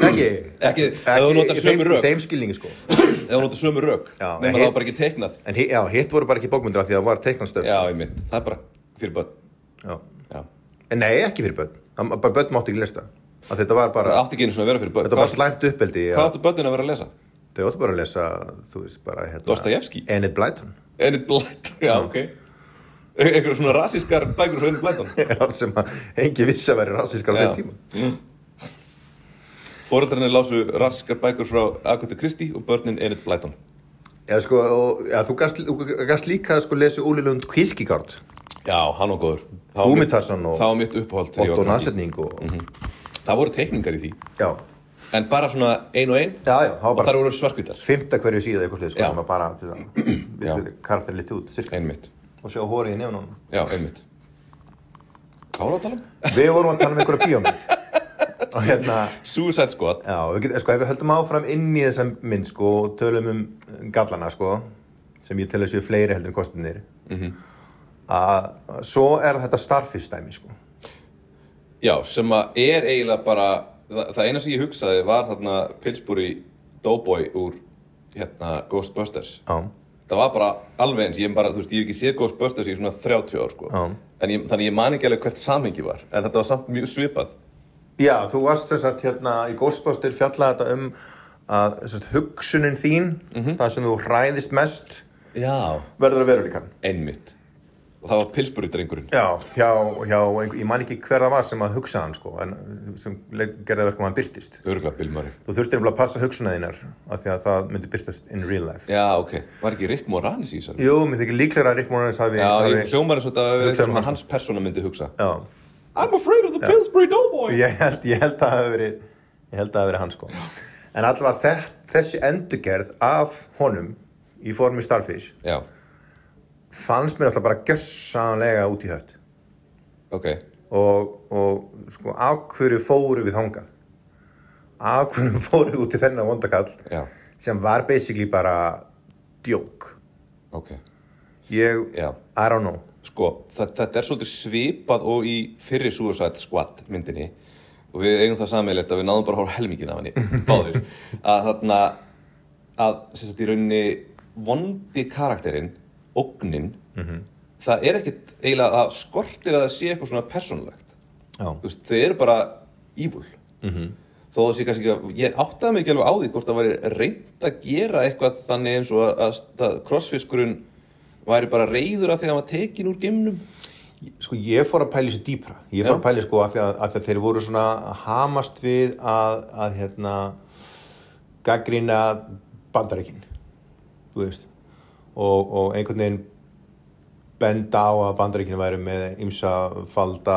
S4: Ekki.
S3: Ekki- ef þú notar
S4: í
S3: sömu
S4: þeim-
S3: rök.
S4: í Þeim skilningi sko.
S3: eða hún átta sömu rök
S4: Já,
S3: nema
S4: en
S3: það
S4: hitt-
S3: var bara ekki teiknað
S4: En hi- já, hitt voru bara ekki bókmyndir af því að það var teiknanstöf.
S3: já, ég mynd, það er bara fyrir börn
S4: Já.
S3: já.
S4: En nei, ekki fyrir börn. Það- Bara börn mátti ekki lesta. Að þetta var
S3: það
S4: bara,
S3: átti ekki einu svona að vera fyrir börn
S4: þetta var
S3: hvað,
S4: slæmt uppeldi.
S3: hvað
S4: að-
S3: áttu börnin að vera að lesa?
S4: Þau áttu bara að lesa, þú veist, bara hérna.
S3: Dostojevskí?
S4: Enid Blyton. *laughs*
S3: Enid Blyton, já, ok einhver svona rasískar bækur frá Enid Blyton
S4: Já, sem að engin vissi að vera rasískar á
S3: Já.
S4: þeim tíma.
S3: fóreldrarnir lásu rasískar bækur frá Agatha Christie og börnin Enid Blyton
S4: Já, sko, og, já, þú gast, þú gast líka sko lesið Óli Lund Kirkigard,
S3: já, hann og góður Það var mitt-
S4: Gúmitarsson og
S3: það var mitt uppáhald þegar ég
S4: Otto
S3: var krakki.
S4: Nasetning og,
S3: Mhm. það voru teikningar í því
S4: já,
S3: en bara svona ein og ein
S4: já, já, það var
S3: og
S4: bara
S3: þar voru svarkvítar
S4: fymta hverju síða eitthvað slið, sko,
S3: Já.
S4: sem var bara til
S3: *clears throat* Já.
S4: það, karakterin liti út, cirka,
S3: einmitt,
S4: og sjá hórið í nefnunum.
S3: já, einmitt hvað voru að tala um?
S4: Við vorum að tala um einhverja
S3: *laughs*
S4: bíómynd og hérna,
S3: Suicide Squad
S4: já, við getum, sko, ef við höldum áfram inn í þessa mynd, sko, og tölum um gallana, sko, sem ég tel að séu fleiri heldur en kostinir,
S3: Mhm.
S4: að að svo er þetta starfish dæmi, sko.
S3: já, sem að er eiginlega bara það, það eina sem ég hugsaði var þarna Pillsbury Doughboy úr hérna Ghostbusters
S4: Já,
S3: það var bara alveg eins, ég hef bara, þú veist, ég hef ekki séð Ghostbusters í svona 30 ár, sko
S4: Já.
S3: en ég, þannig ég man ekki alveg hvert samhengi var en þetta var samt mjög svipað
S4: Já, þú varst sem sagt hérna í Ghostbusters fjallaði þetta um að sem sagt, hugsunin þín,
S3: Mhm.
S4: það sem þú hræðist mest,
S3: já,
S4: verður að veruleika.
S3: einmitt og það var Pillsbury drengurinn
S4: Já, hjá, hjá einhver, ég man ekki hver það var sem að hugsa hann sko, en sem leit- gerði verkum að hann byrtist.
S3: örgulega Bill Murray
S4: Þú þurftir nefnilega að passa hugsuna þínar af því að það myndi byrtast in real life.
S3: já, ok, var ekki Rick Moranis í þessari
S4: Jú, mér þykir líklega að Rick Moranis hafi...
S3: já,
S4: hafi-
S3: ég hljómar eins og þetta hafi verið
S4: Hugsa um
S3: eitthvað sem
S4: hann.
S3: hans persóna myndi hugsa
S4: Já,
S3: I'm afraid of the Pillsbury Doughboy
S4: ég held, ég held að það hafi verið, ég held að það hafi verið hann sko. En allavega þe- þessi endurgerð af honum í formi Starfish
S3: já,
S4: fannst mér alltaf bara gjössanlega út í hött
S3: ok
S4: og, og sko, af hverju fóru við þangað af hverju *laughs* fóru við út í þennan vondakall
S3: já,
S4: sem var basically bara djók
S3: ok,
S4: ég,
S3: já
S4: I don't know
S3: sko, þa- þetta er svolítið svipað og í fyrri Suicide Squad myndinni og við eigum það sammeilegt að við náðum bara að hóra helmingin af henni, báðir að þarna að sem sagt í rauninni vondi karakterinn, ógnin það er ekkit eiginlega að skortir að það sé eitthvað svona persónulegt
S4: Já.
S3: Þú veist, þau eru bara evil þó það sé kannski ekki að ég áttaði mig ekki alveg á því hvort það væri reynd að gera eitthvað þannig eins og að, að, að crossfiskurinn væri bara reyður að því að hann var tekin úr geimnum
S4: sko ég fór að pæli þessu dýpra ég fór
S3: Já.
S4: að pæli sko af því að, af því að þeir voru svona að hamast við að, að hérna gaggrina bandaríkin þú veist og, og einhvern veginn benda á að bandaríkinu væri með ymsa falda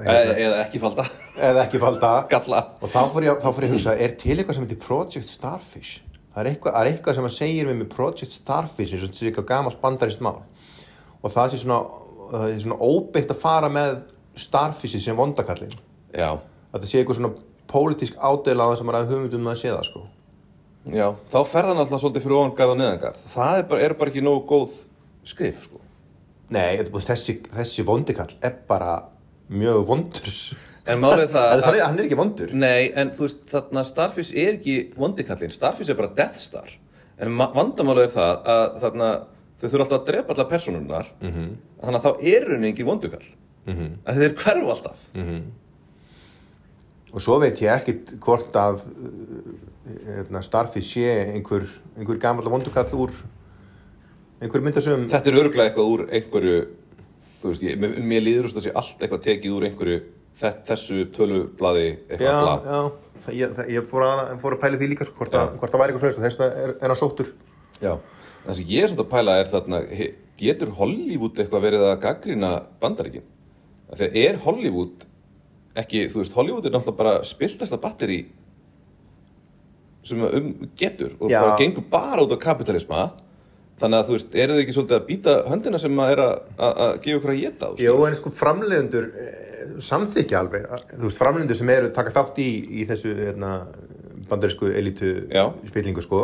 S3: eða,
S4: hérna,
S3: eða ekki falda, *laughs*
S4: eða ekki falda
S3: Eh, galla
S4: og þá fór, ég, þá fór ég að hugsa er til eitthvað sem heitir Project Starfish það er eitthvað, það er eitthvað sem að segir mér með Project Starfish eins og þetta sé eitthvað gamalt bandarist mál og það sé svona, það sé svona óbeint að fara með Starfishi sem vondakallin
S3: já,
S4: að það sé eitthvað svona pólitísk ádela á það sem er að hugmyndum að sé það sko
S3: já, þá ferða hann alltaf svolítið fyrir ofangarð og neðangarð það er bara, er bara ekki nógu góð skrif sko.
S4: nei, þetta er bara- þessi, þessi vondikall er bara mjög vondur
S3: en málið er
S4: Það
S3: það
S4: er- það er, hann er ekki vondur
S3: Nei, en þú veist, þarna Starfish er ekki vondikallin, Starfish er bara Death Star en ma- vandamálið er það að þarna, þau þurfa alltaf að drepa alla personunnar -hmm. þannig að þá er raunin engin vondukall mm -hmm. að þeir hverfa alltaf
S4: og svo veit ég ekkit hvort að uh, hérna, Starfish sé einhver, einhver gamall vondurkall úr einhver myndasögum
S3: Þetta er örglega eitthvað úr einhverju þú veist, ég, mér, mér líður þess að sé allt eitthvað tekið úr einhverju þett, þessu tölublaði eitthvað
S4: já,
S3: bla.
S4: já, Það- ég, það- ég fór, að, fór að pæla í því líka sko, hvort, að,
S3: Já.
S4: hvort það væri eitthvað svoleiðis og þess vegna er, er hann sóttur
S3: Já, það sem ég er samt að pæla er þarna, he- getur Hollywood eitthvað verið að gaggrina bandaríkin? Af því að er Hollywood ekki, þú veist, Hollywood er náttúrulega bara spiltasta batteri sem að um getur og
S4: Já.
S3: bara gengur bara út á kapitalisma þannig að þú veist, eru þau ekki svolítið að býta höndina sem að er að, að, að gefa okkur að geta
S4: Jó, en sko framleiðendur samþykja alveg, þú veist, framleiðendur sem eru taka þátt í, í þessu hérna, bandarísku elitu
S3: Já.
S4: spillingu sko,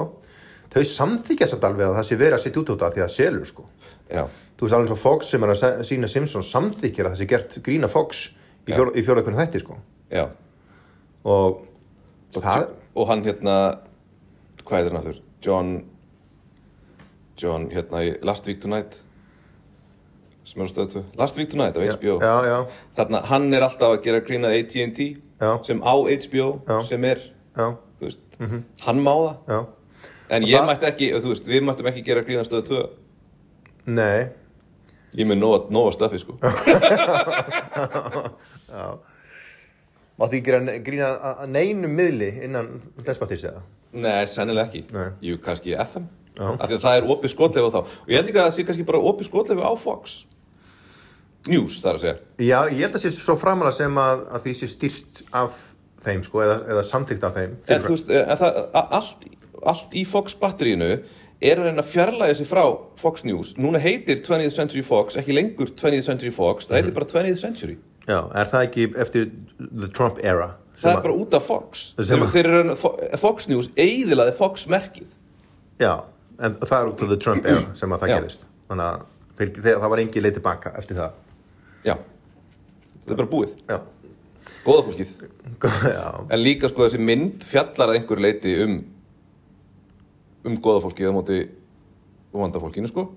S4: þau samþykja samt alveg að það sé verið að setja út á þetta því að það selur sko
S3: Já.
S4: þú veist alveg svo Fox sem er að sína Simpsons samþykir að þessi gert grína Fox í, fjör, í fjörðakonu þætti sko
S3: Já.
S4: og það,
S3: og hann hérna hvað heitir hann aftur? John John hérna í Last Week Tonight sem er á stöðu 2 Last Week Tonight á HBO
S4: já, já,
S3: þarna hann er alltaf að gera grínað AT&T
S4: Já.
S3: sem á HBO
S4: Já.
S3: sem er
S4: já,
S3: þú veist, hann má það
S4: já
S3: en ég
S4: það-
S3: mætti ekki, þú veist, við mættum ekki gera grínað stöðu 2
S4: nei,
S3: ég er með nóga, nóga stöfi sko
S4: máttu ekki gera grína að- að neinum miðli innan hlespattist eða
S3: Nei, sennilega ekki.
S4: Nei.
S3: Jú, kannski FM. Af því að það er opið skotleifu þá. Og ég held líka að það sé kannski bara opið skotleifu á Fox. News, það er að segja.
S4: Já, ég held að sé svo framalega sem að, að því sé styrt af þeim sko, eða, eða samþygt af þeim
S3: En þú veist, en það, a- allt, allt í Fox batterínu er að reyna að fjarlæga sig frá Fox News. Núna heitir 20th Century Fox, ekki lengur 20th Century Fox, það heitir
S4: Mhm.
S3: bara 20th Century.
S4: Já, er það ekki eftir the Trump era?
S3: Það
S4: sem
S3: er bara út af Fox.
S4: Sem
S3: Þeir,
S4: að-
S3: þeir eru, Fo- Fox News eiðilaði Fox-merkið.
S4: Já, en það er út af the Trump era sem að það
S3: Já.
S4: gerðist Þannig að þeir, þeir, það var engin leið tilbaka eftir það
S3: Já. Það er bara búið.
S4: Já,
S3: Góða fólkið.
S4: já,
S3: En líka sko þessi mynd fjallar að einhverju leiti um um góða fólki eða móti um vanda fólkinu sko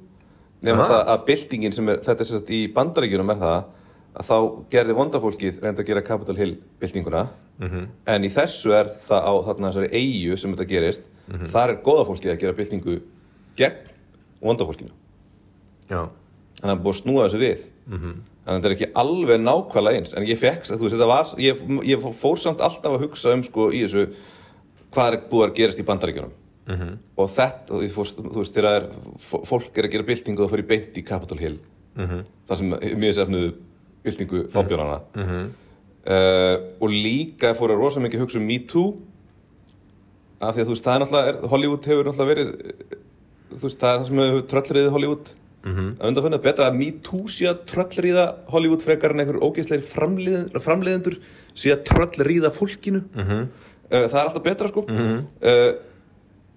S3: nema
S4: Aha.
S3: það að byltingin sem er, þetta er sérst í bandaríkjunum er það að þá gerði vonda fólkið reynda að gera Capitol Hill byltinguna
S4: Mhm.
S3: en í þessu er það á þarna þessari eigu sem þetta gerist
S4: Mhm.
S3: þar er góða fólkið að gera byltingu gegn vonda fólkinu
S4: já,
S3: þannig að búið að snúa þessu við þannig að þetta er ekki alveg nákvæmlega eins en ég fekk, þú veist, þetta var ég, ég fór samt alltaf að hugsa um sko í þessu hvað er búið að gerast í bandaríkjunum og þetta, og ég fór, þú veist, þegar er, fó- fólk er að gera byltingu og það fyrir beint í Capitol Hill þar sem mjög sefnuðu byltingu
S4: Mm.
S3: fábjörnana
S4: Mhm.
S3: uh, og líka fór að rosa mikið hugsa um Me Too af því að þú veist, það er náttúrulega er, Hollywood hefur náttúrulega verið eh, þú veist, það er það sem hefur tröllriðið Hollywood
S4: Mhm.
S3: -hmm. að undanfönda betra að Me Too sé að tröllriða Hollywood frekar en einhver ógeðsleir framleiðendur, framleiðendur sé að tröllriða fólkinu -hmm.
S4: Mhm.
S3: það er alltaf betra sko -hmm.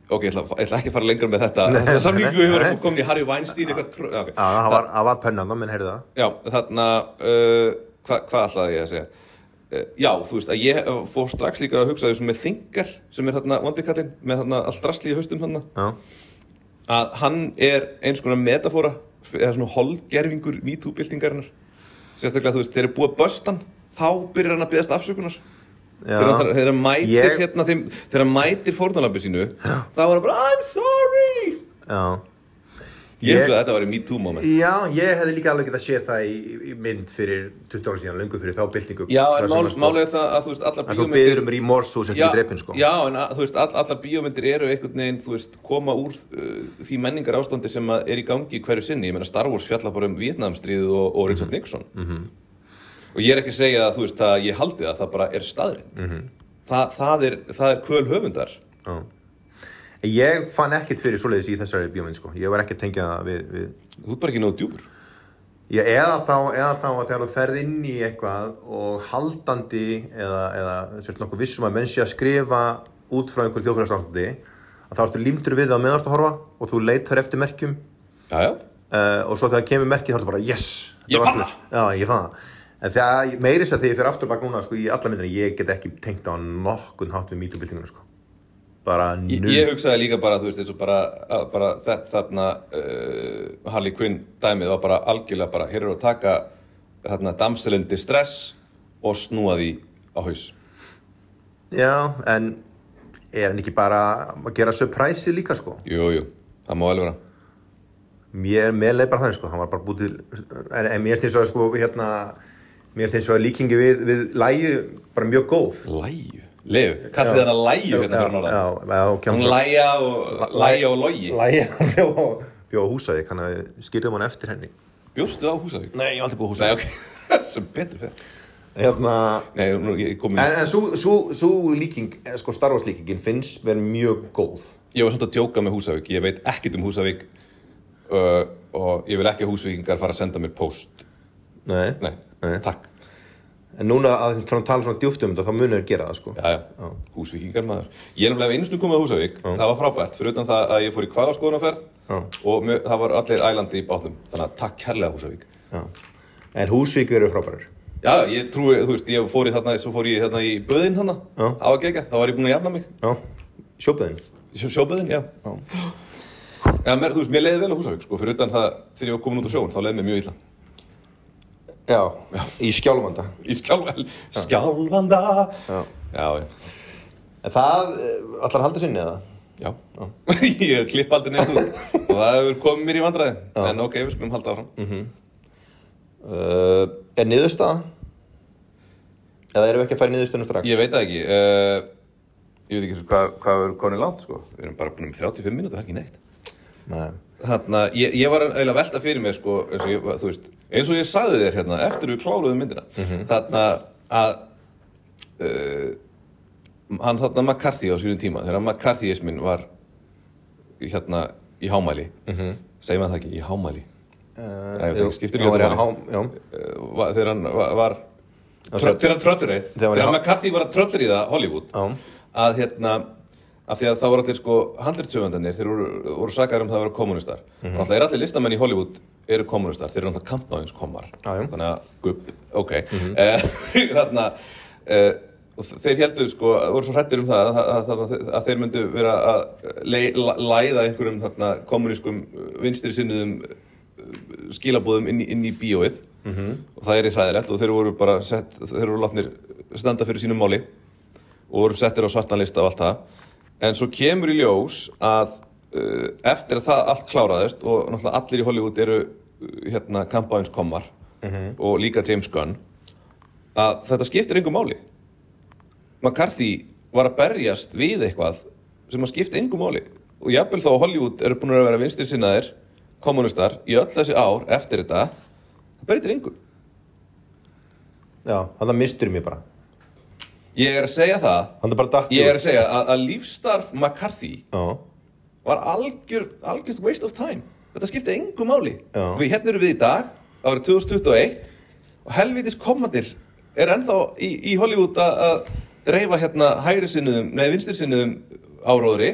S3: ok, ég ætla, ég ætla ekki að fara lengra með þetta
S4: Nei,
S3: þess að samlingu
S4: nei,
S3: hefur
S4: nei.
S3: komin í Harry Weinstein eitthvað trö- okay.
S4: já það var, það var pennan þá, menn heyrðu það
S3: Já, þarna, uh, hva, hvað ætlaði ég að segja? Uh, já, þú veist að ég uh, fór strax líka að hugsa þessum með Þingar sem er þarna vondikallinn með þarna allt drasli í haustum þarna
S4: Já,
S3: að hann er eins konar metafóra eða svona holdgerfingur MeToo-byltingarinnar sérstaklega þú veist, þeir eru búið að bösta hann þá byrjar hann að beðast afsökunar þegar hann- þegar hann mætir
S4: Ég-
S3: hérna þeim, þegar hann mætir fórnalambið sínu þá er hann bara I'm sorry
S4: já
S3: ég, ég...
S4: Ég-
S3: hugsa að þetta var MeToo moment
S4: Já, ég hefði líka alveg getað séð það í, í mynd fyrir 20 ára síðan, löngu fyrir þá byltingu
S3: Já, en
S4: Þar sem
S3: mál,
S4: að sko-
S3: málið er það að þú veist allar
S4: En svo byður um remorse og sem
S3: Já,
S4: því dreipin sko
S3: já, en að, þú veist, all, allar bíómyndir eru einhvern veginn, þú veist, koma úr uh, því menningar ástandi sem að er í gangi hverju sinni, ég meina Star Wars fjallar bara um Vietnamstríðu og, og Richard Nixon og ég er ekki að segja að þú veist að ég haldi það, það bara er staðrind Þa, það, er, það er kvöl höfundar
S4: Ég fann ekkert fyrir svoleiðis í þessari bíómynd sko. Ég var ekki að tengja það við, við...
S3: þú ert bara ekki nógu djúpur
S4: Ég, eða, þá, eða þá að þegar þú ferð inn í eitthvað og haldandi eða, eða sért nokkuð vissum að menn sé að skrifa út frá einhverjum þjóðfélagsástandi að þá ertu límdur við það meðan þú ert að horfa og þú leitar eftir merkjum
S3: Já, já,
S4: uh, og svo þegar kemur merkið þá ertu bara yes
S3: Ég
S4: var
S3: fann
S4: svoleiðis. Já, ég fann það En það meiri sér þegar ég fyrir aftur bak núna sko, í alla myndina, ég get ekki tengt á nokkun hátt við mítubildingunum sko. bara nú
S3: ég, ég hugsaði líka bara, þú veist, eins og bara, að, bara þetta, þarna uh, Harley Quinn dæmið var bara algjörlega bara, hér eru að taka þarna damselindi stress og snúa því á haus
S4: Já, en er hann ekki bara að gera surprise líka sko?
S3: Jú, jú, það má alveg vera
S4: Mér, mér leið bara þannig sko, hann var bara búið til, en, en mér finnst það sko hérna, mér finnst það líkingi við, við lægi bara mjög góð.
S3: Læju? Leif, kallið þarna læju hérna fyrir
S4: já,
S3: norðan
S4: já, já, ok,
S3: Hún læja og, læja og logi
S4: Lægi, *laughs* hann bjó, á- bjó á húsavík, hann skýrðum hann eftir henni.
S3: Bjóstu á Húsavík?
S4: Nei, ég hef aldrei búið
S3: Nei, ok, *laughs* sem betur fyrir
S4: Hérna,
S3: Nei, nú, ég kom í
S4: en, en svo, svo, svo líking, eh, sko starfars líkingin finnst mér mjög góð.
S3: Ég var svolítið að djóka með Húsavík, ég veit ekkert um Húsavík uh, og ég vil ekki að Húsavíkingar fara að senda mér post
S4: Nei.
S3: Nei,
S4: Nei.
S3: takk
S4: En núna að frá að tala svona djúft um þetta, þá munir þeir gera það sko.
S3: Já, já, húsvíkingar maður Ég er nefnilega einu sinni komið á Húsavík, það var frábært fyrir utan það að ég fór í hvalaskoðunarferð og mjö, það var allir ælandi í bátnum þannig að takk kærlega Húsavík
S4: Já. En húsvík eru frábærir.
S3: Já, ég trúi, þú veist, ég fór í þarna svo fór ég þarna í böðin þarna
S4: Já.
S3: það var geggjað, þá var ég búin að jafna mig
S4: Já. Sjópaðin.
S3: Sjó, sjóböðin, já, já. mér, þú veist, mér leiði vel á Húsavík sko, fyrir utan það, þegar ég var komin út á sjóun þá leiði mér mjög illa
S4: Já. Í skjálfanda.
S3: í skjálfanda skjálfanda já,
S4: Já.
S3: já,
S4: En það, eh, ætlar að halda sinni eða?
S3: já. *laughs* ég klipp aldrei neitt út og það hefur komið mér í vandræði en ok, við skulum halda áfram
S4: Uh, er niðurstaða? Eða erum við ekki að fara í niðurstöðunum strax?
S3: ég veit það ekki uh, ég veit ekki svo hvað, hvað við erum komin langt sko. við erum bara búin um 35 minúti, það er ekki neitt
S4: Nei.
S3: Þarna, ég, ég var eiginlega að velta fyrir mér sko, eins, og ég, var- þú veist, eins og ég saði þér hérna eftir við kláruðum myndina þarna að uh, hann þarna McCarthy á sínum tíma þegar McCarthyismin var hérna í hámæli segir maður það ekki, í hámæli Æ, ég veit ekki, skiptir ekki öllu máli.
S4: Já,
S3: uh, var- þegar hann var, var
S4: svo-
S3: trö- þegar hann tröllreið
S4: Þegar hann-
S3: þegar hann McCarthy var að tröllriða Hollywood
S4: Já.
S3: að hérna af því að það voru allir sko handriðsöfundarnir þeir voru, voru sakaður um það að vera kommunistar mm
S4: Mhm.
S3: -hmm. alltaf er allir listamenn í Hollywood eru kommunistar þeir eru alltaf kampnáins komar
S4: Já, Mhm. já.
S3: þannig að gupp, ok mm -hmm. *laughs* þarna eh, og þeir heldur sko, voru svo hrættir um það að, að, að, að þeir myndu vera að lei- la- læða einhverjum þarna, eh, kommunískum vinstri sinniðum skilabóðum eh, inn í, inn í bíóið
S4: Mhm.
S3: og það er í hræðilegt og þeir voru bara sett, þeir voru látnir standa fyrir sínum máli og voru settir á svartan lista og allt það en svo kemur í ljós að uh, eftir að það allt kláraðist og náttúrulega allir í Hollywood eru uh, hérna kampáins komar og líka James Gunn að þetta skiptir engum máli McCarthy var að berjast við eitthvað sem að skipta engum máli og jafnvel þá að Hollywood eru búin að vera vinstir sinnaðir kommunistar í öll þessi ár eftir þetta það breytir engum
S4: já þannig mistur mér bara.
S3: ég er að segja það
S4: Þannig bara dætti.
S3: ég er að segja að, að lífstarf McCarthy
S4: Já,
S3: var algjör, algjörst waste of time þetta skipti engu máli
S4: Já.
S3: við hérna eru við í dag, árið 2021 og helvitis komandir er ennþá í, í Hollywood að- að dreifa hérna hægri sinniðum nei vinstri sinniðum áróðri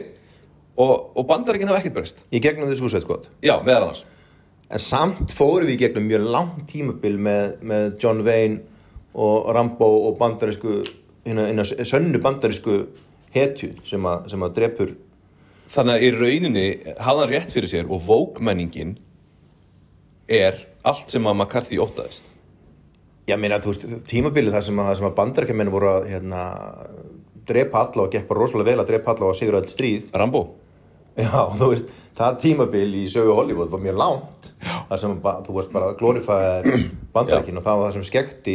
S3: og, og bandaríkinn hafa ekkert breyst
S4: í gegnum þessu húsveit sko.
S3: já, meðal annars
S4: En samt fórum við í gegnum mjög langt tímabil með, með John Wayne og Rambo og bandarísku, hérna, hérna sönnu bandarísku hetju sem að, sem að drepur.
S3: þannig að í rauninni hafði hann rétt fyrir sér og vókmenningin er allt sem að McCarthy óttaðist
S4: Já, meina, þú veist, tímabilið þar sem að, þar sem að bandaríkjumenn voru að, hérna, drepa alla og gekk bara rosalega vel að drepa alla og að sigra öll stríð. *laughs*
S3: Rambo
S4: Já, þú veist, það tímabil í sögu Hollywood var mjög langt það sem ba, þú veist bara
S3: *clears throat*
S4: glorifæðar bandaríkinn og það var það sem skekti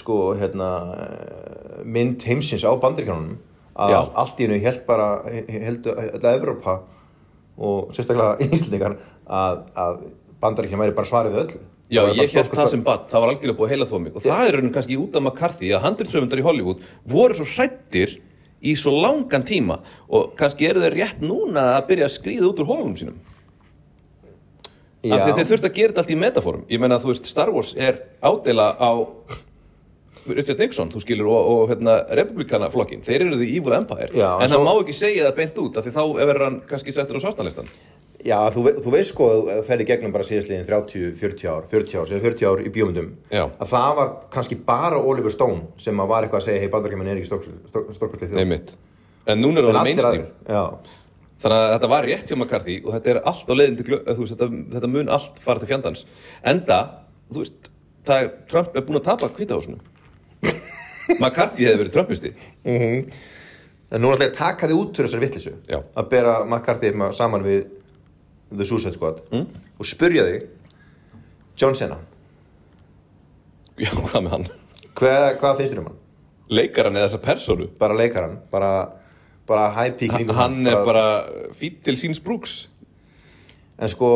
S4: sko, hérna eh, mynd heimsins á bandaríkjánunum að
S3: Já.
S4: allt í hennu held bara held öll Evrópa og sérstaklega *laughs* Íslingar að, að bandaríkján væri bara svarið við öllu
S3: Já,
S4: Það væri bara
S3: ég held
S4: stórkostlegt-
S3: það sem bann, það var algjörlega búið að heila þó um mig og það er raunin kannski út af McCarthy að handriðsöfundar í Hollywood voru svo hrættir í svo langan tíma og kannski eru þeir rétt núna að byrja að skrýða út úr hólum sínum af því að þeir
S4: Já,
S3: þurft að gera þetta allt í metaforum ég meina þú veist, Star Wars er ádela á Richard Nixon, þú skilur og, og hérna, republikana flokkin, þeir eru því Evil Empire,
S4: Já,
S3: en
S4: en svo-
S3: það má ekki segja það beint út af því þá verður hann kannski settur á svartanlistan
S4: já þú, ve- þú veist sko að þú ferði gegnum bara síðastliðin 30-40 ár 40 ár, sem 40 ár í bíómyndum
S3: Já.
S4: að það var kannski bara Oliver Stone sem að var eitthvað að segja, hei, bandaríkján er ekki stórkostlið þjóð
S3: Einmitt. en núna er
S4: En
S3: það
S4: allir
S3: mainstream
S4: aðrir- Já,
S3: Þannig að þetta var rétt hjá McCarthy og þetta er allt á leiðin til glöð, þú veist, þetta, þetta mun allt fara til fjandans. Enda, þú veist, það er, Trump er búin að tapa kvítahúsinu. *laughs* McCarthy hefði verið Trumpisti.
S4: en nú er alltaf að taka þið út fyrir þessari vittlisu
S3: Já.
S4: að bera McCarthy ma- saman við The Suicide Squad mm. og spyrja þig John Cena,
S3: Já, hvað með hann?
S4: hvað, hvað finnst þér um hann?
S3: Leikaran eða þessa persónu.
S4: Bara leikar hann, bara, bara high peak
S3: Hann, er bara fýtt til síns brúks.
S4: En sko,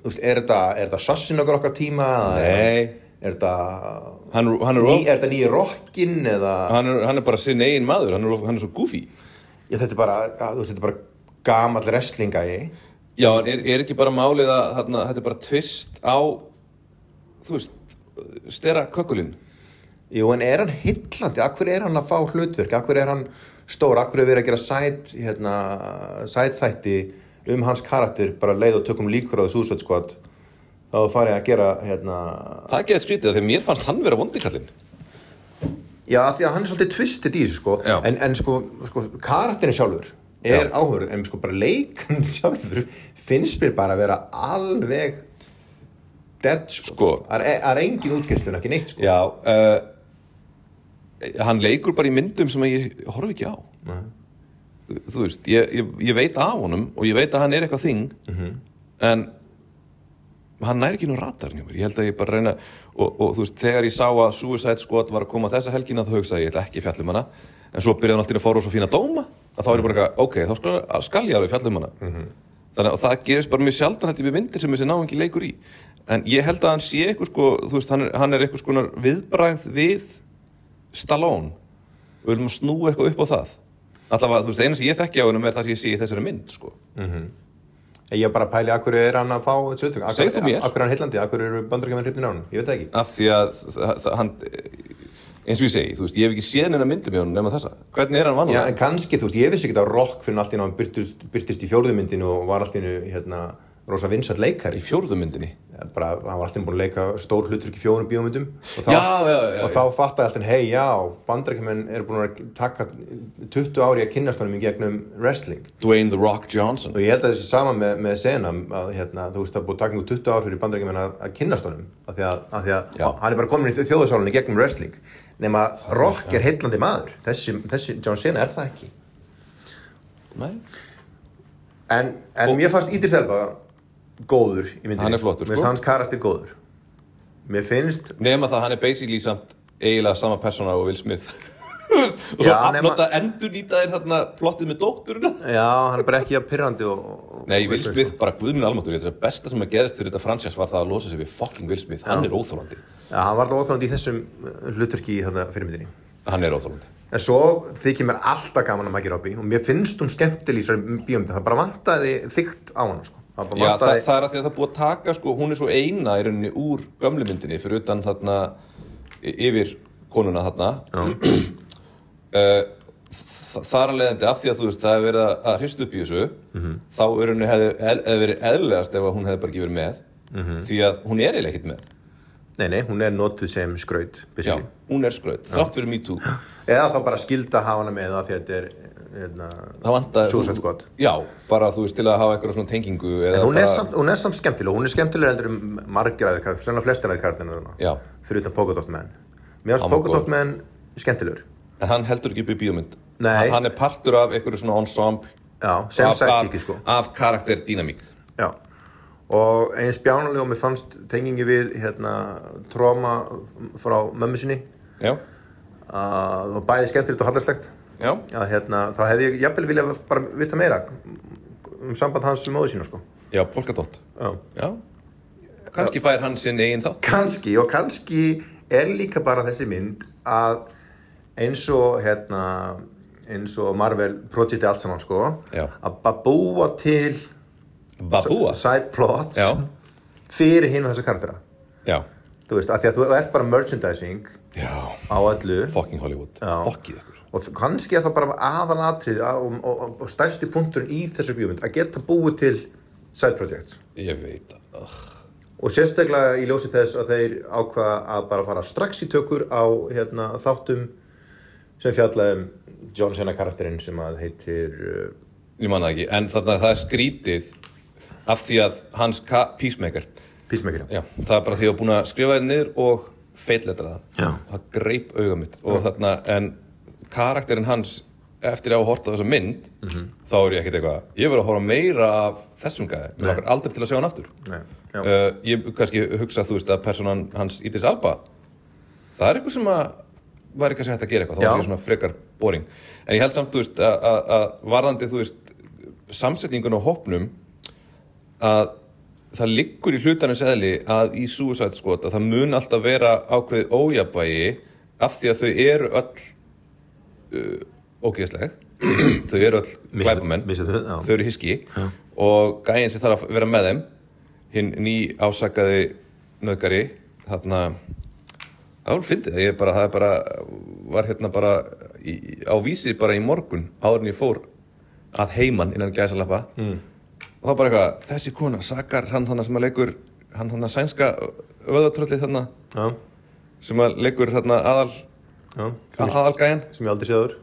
S4: þú veist, er þetta, er þetta sassin okkur okkar tíma? eða
S3: Nei,
S4: Er þetta,
S3: hann, er- hann, er,
S4: ný,
S3: of,
S4: er þetta nýja rockin eða
S3: hann, er, hann er bara sinn eigin maður, hann er, of, hann er svo goofy.
S4: Já, þetta er bara, að, þú veist, þetta er bara gamall wrestlinga í
S3: Já, en er, er ekki bara málið að þarna, þetta er bara tvist á, þú veist, stera kökulinn.
S4: Jú, en er hann hillandi? Akkur er hann að fá hlutverk? Akkur er hann stór? Akkur er verið að gera sæt, hérna, sætþætti um hans karakter bara leið og tökum líkur á þessu úsvöld skot þá farið að gera hérna
S3: Það getur skrítið af því að mér fannst hann vera vondikallinn
S4: já af því að hann er svolítið tvistið í þessu sko
S3: Já.
S4: en, en sko, sko karakterin sjálfur er áhörður en sko bara leikan *laughs* sjálfur finnst mér bara að vera alveg dead sko,
S3: Sko.
S4: Það er, það er engin útgeistlun ekki neitt sko
S3: Já uh, Hann leikur bara í myndum sem að ég horfi ekki á þú, þú veist, ég, ég, ég veit af honum og ég veit að hann er eitthvað þing en hann næri ekki nú ratarinn hjá mér, ég held að ég bara reyna og, og þú veist, þegar ég sá að Suicide Squad var að koma þessa helgina þá hugsaði ég, ég ætla ekki að fjalla um hana en svo byrjaði hann alltaf að fóra og svo fína dóma að þá er ég bara eitthvað, ok, þá skal, skal ég alveg fjalla um hana þannig að það gerist bara mjög sjaldan hætti við myndir sem þessi náingi leikur í en ég held að hann sé eitthvað sko, þú veist, hann er, hann er eitthvað skonar viðbragð við Stallone við viljum að snúa eitthvað upp á það allavega, þú veist, eina sem ég þekki á hennum er það sem ég sé í þessari mynd, sko
S4: ég er bara að pæli að hverju er hann að fá þessu uttök
S3: Segðu þú mér.
S4: að hverju er hann heillandi, að hverju eru bandarækjumenn hrifnir á hann ég veit það ekki
S3: af því að það, það, hann eins og ég segi, þú veist, ég hef ekki séð neina myndum hjá hann nema þessa, hvernig er hann vann
S4: Já, en kannski, þú veist, ég vissi ekki að rock fyrir allt í náðum byrtist, byrtist í fjórðumyndinu og var allt í náðum, hérna, rosa vinsall leikari.
S3: í fjórðu myndinni
S4: Ja, Bara, hann var allt í náðum búin að leika stór hlutur í fjórum bíómyndum. Og þá,
S3: Já, já, já,
S4: Og
S3: já.
S4: þá fattaði alltaf, hei, já, bandarækjumenn eru búin að taka 20 ári að kynnast honum í gegnum wrestling.
S3: Dwayne The Rock Johnson
S4: Og ég held að þessi sama með, með sena, að, hérna, þú veist, það er búin að taka einhver 20 ári fyrir bandarækjumenn að, að kynnast honum. Af því að, af því að
S3: Já.
S4: hann er bara komin í þjóðasálunni í gegnum wrestling. Nema, rock er heillandi maður. Þessi, þessi, John Cena er það ekki.
S3: Nei.
S4: En, en mér fannst Ídris Elba góður í myndinni.
S3: Hann er flottur,
S4: Mér finnst
S3: sko.
S4: hans karakter góður. Mér finnst,
S3: nema það hann er basically samt eiginlega sama persóna og Will Smith *laughs* og svo
S4: Já, nema-
S3: afnota endur nýta þér þarna plottið með dótturina
S4: já, hann er bara ekki að pyrrandi og... og-
S3: Nei, Will Smith,
S4: sko.
S3: bara guðminn almatur, þetta er besta sem að geðast fyrir þetta fransjans var það að losa sig við fucking Will Smith, hann er óþólandi
S4: Já, hann var alltaf óþálandi í þessum hluturki í þarna fyrir myndinni.
S3: hann er óþólandi
S4: En svo þykir mér alltaf gaman að Maggie Robbie og mér finnst hún skemmtileg í þessari bíómyndi. Það bara vantaði þygt á hana, sko. Það bara
S3: Já, það,
S4: vantaði...
S3: það er að því að það er búið að taka sko, hún er svo eina í rauninni úr gömlu myndinni fyrir utan þarna y- yfir konuna þarna *clears throat* uh, það er alveg endi af því að þú veist það hefur verið að- að hristu upp í þessu
S4: Mhm.
S3: þá er henni hefði hef verið eðlilegast ef að hún hefði bara ekki verið með
S4: Mhm.
S3: því að hún er eiginlega ekkert með
S4: Nei, nei, hún er notuð sem skraut,
S3: Já,
S4: basically.
S3: hún er skraut, þrátt fyrir MeToo
S4: Eða þá bara skilda að hafa hana með það því að þetta er, hérna...
S3: það vantar
S4: Suicide Squad.
S3: Já, bara þú veist til að hafa eitthvað svona tengingu
S4: En
S3: eða
S4: hún er,
S3: bara-
S4: samt, hún er samt skemmtileg, hún er skemmtileg heldur um margir aðeir karakter, sennilega flestir aðeir karakterina
S3: Já.
S4: fyrir utan Pogodot menn. Mér
S3: Hann
S4: finnst
S3: var
S4: Pogodot menn skemmtilegur.
S3: En hann heldur ekki upp í bíómynd
S4: Nei.
S3: hann, hann er partur af einhverju svona ensemble
S4: Já, sem
S3: af,
S4: sagt
S3: af,
S4: ekki sko.
S3: af karakter dýnamík
S4: Já. Og eins bjánuleg og mér fannst tengingi við hérna tróma frá mömmu sinni
S3: Já,
S4: að það var bæði skemmtilegt og hallarslegt
S3: já,
S4: að hérna, þá hefði ég jafnvel viljað bara vita meira um samband hans sem móðu sína sko.
S3: já, Polkadot
S4: Já.
S3: Já, kannski fær hann sinn eigin þátt
S4: kannski og kannski er líka bara þessi mynd að eins og hérna eins og Marvel projekti allt saman sko
S3: Já.
S4: að bara búa til
S3: Babúa
S4: side plots
S3: Já,
S4: fyrir hinn og þessa karaktera
S3: já,
S4: þú veist, af því að þú ert bara merchandising
S3: já,
S4: á öllu
S3: fucking Hollywood Fuckið ykkur
S4: og þ- kannski er það bara aðalatrið að- og, og, og stærsti punkturinn í þessu bjómynd að geta búið til side projects
S3: Ég veit að ugh.
S4: Og sérstaklega í ljósi þess að þeir ákvaða að bara fara strax í tökur á hérna, þáttum sem fjallaðum John Cena karakterinn sem að heitir uh,
S3: Ég man það ekki, en þarna það er skrítið af því að hans ka- peacemaker
S4: Peacemaker.
S3: Já, það er bara því að ég var búin að skrifa það niður og feitletra það
S4: Já.
S3: Það greip auga mitt og þarna, en karakterinn hans eftir að hafa hort á þessa mynd þá er ég ekkert eitthvað ég verið að horfa meira af þessum gæði mér langar aldrei til að sjá hann aftur
S4: Nei, já.
S3: uh, ég kannski hugsa þú veist að personan hans Ídris Alba það er eitthvað sem að væri kannski hægt að gera eitthvað þá
S4: Já.
S3: var það svona frekar boring en ég held samt þú veist að- að að varðandi þú veist samsetningun á hopnum að það liggur í hlutanum seðli að í Suicide Squad að það mun alltaf vera ákveðið ójabægi af því að þau eru öll uh, ógeðsleg *clears throat* þau eru öll
S4: Mis-
S3: glæpamenn
S4: misjöfn, já.
S3: þau eru hiski og gæin sem þarf að vera með þeim hinn ný ásakaði nöðgari þarna það var fyndið, ég bara, það er bara var hérna bara í, á vísi bara í morgun áður en ég fór að heiman innan gæsalappa mm. og þá bara eitthvað, þessi kona, Sakar, hann þannig sem að leikur, hann þannig að sænska vöðatrölli þannig
S4: já,
S3: sem að leikur þarna aðal,
S4: já,
S3: aðalgæjan,
S4: sem ég aldrei séður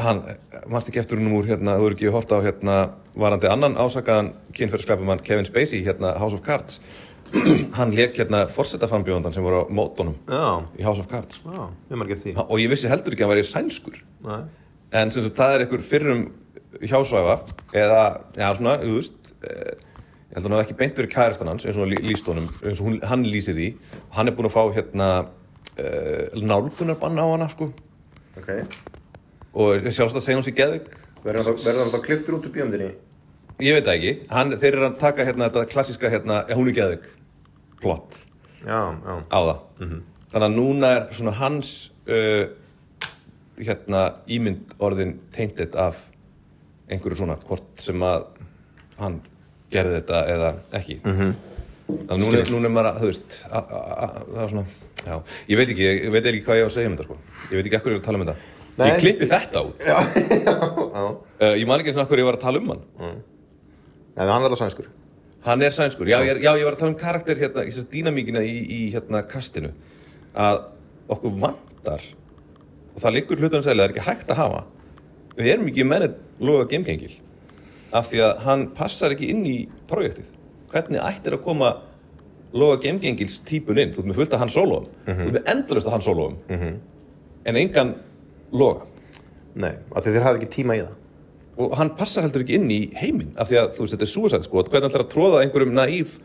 S3: hann, mannst ekki eftir húnum úr hérna, þú eru ekki hort á hérna varandi annan ásakaðan kynferðsklæpumann Kevin Spacey, hérna House of Cards *clears throat* hann leik hérna forsetafambjóðandan sem voru á mótunum
S4: já,
S3: í House of Cards
S4: já, við margir því
S3: og ég vissi heldur ekki að hann væri sænskur
S4: Nei.
S3: en sem sagt það er einhver fyrrum hjásvæfa eða, já svona, þú veist eh, ég held að hann hafi ekki beint verið kærastan hans eins og hann lí- lýst honum, eins og hún, hann lýsið því hann er búinn að fá hérna uh, nálgunarbann á hana sko
S4: ok,
S3: og sjálfst að segja hún sér geðvik
S4: verður hann þá- verður hann þá kliftur út úr bíómyndinni
S3: ég veit það ekki, hann, þeir eru að taka hérna þetta klassíska hérna, eh, hún er geðvik plott
S4: já, já,
S3: á það
S4: Mhm.
S3: þannig að núna er svona hans uh, hérna ímynd orðin tainted af einhverju svona hvort sem að hann gerði þetta eða ekki
S4: Mhm.
S3: -hmm. þannig að núna, er- núna er maður að þú veist að- að- að- það er svona já, ég veit ekki, ég veit ekki hvað ég á að segja um þetta sko. ég veit ekki ekkur ég er að tala um þetta
S4: Nei.
S3: ég klippi þetta út
S4: *laughs* já, já.
S3: uh, ég man ekki svona okkur ég var að tala um hann
S4: en hann er alltaf sænskur
S3: Hann er sænskur, já, ég, já, ég var að tala um karakter hérna, í þess að dýnamíkina í, í hérna kastinu að okkur vantar og það liggur hlutunum sæli, það er ekki hægt að hafa við erum ekki með þetta loga gemgengil af því að hann passar ekki inn í projektið hvernig ættir að koma loga gemgengils típun inn, þú ert með fullt af hann sólóum þú ert með endalust af hann sólóum en engan loga
S4: nei, af því þeir hafa ekki tíma í það
S3: og hann passar heldur ekki inn í heiminn af því að þú veist, þetta er suicide squad hvernig ætlar að tróða einhverjum naív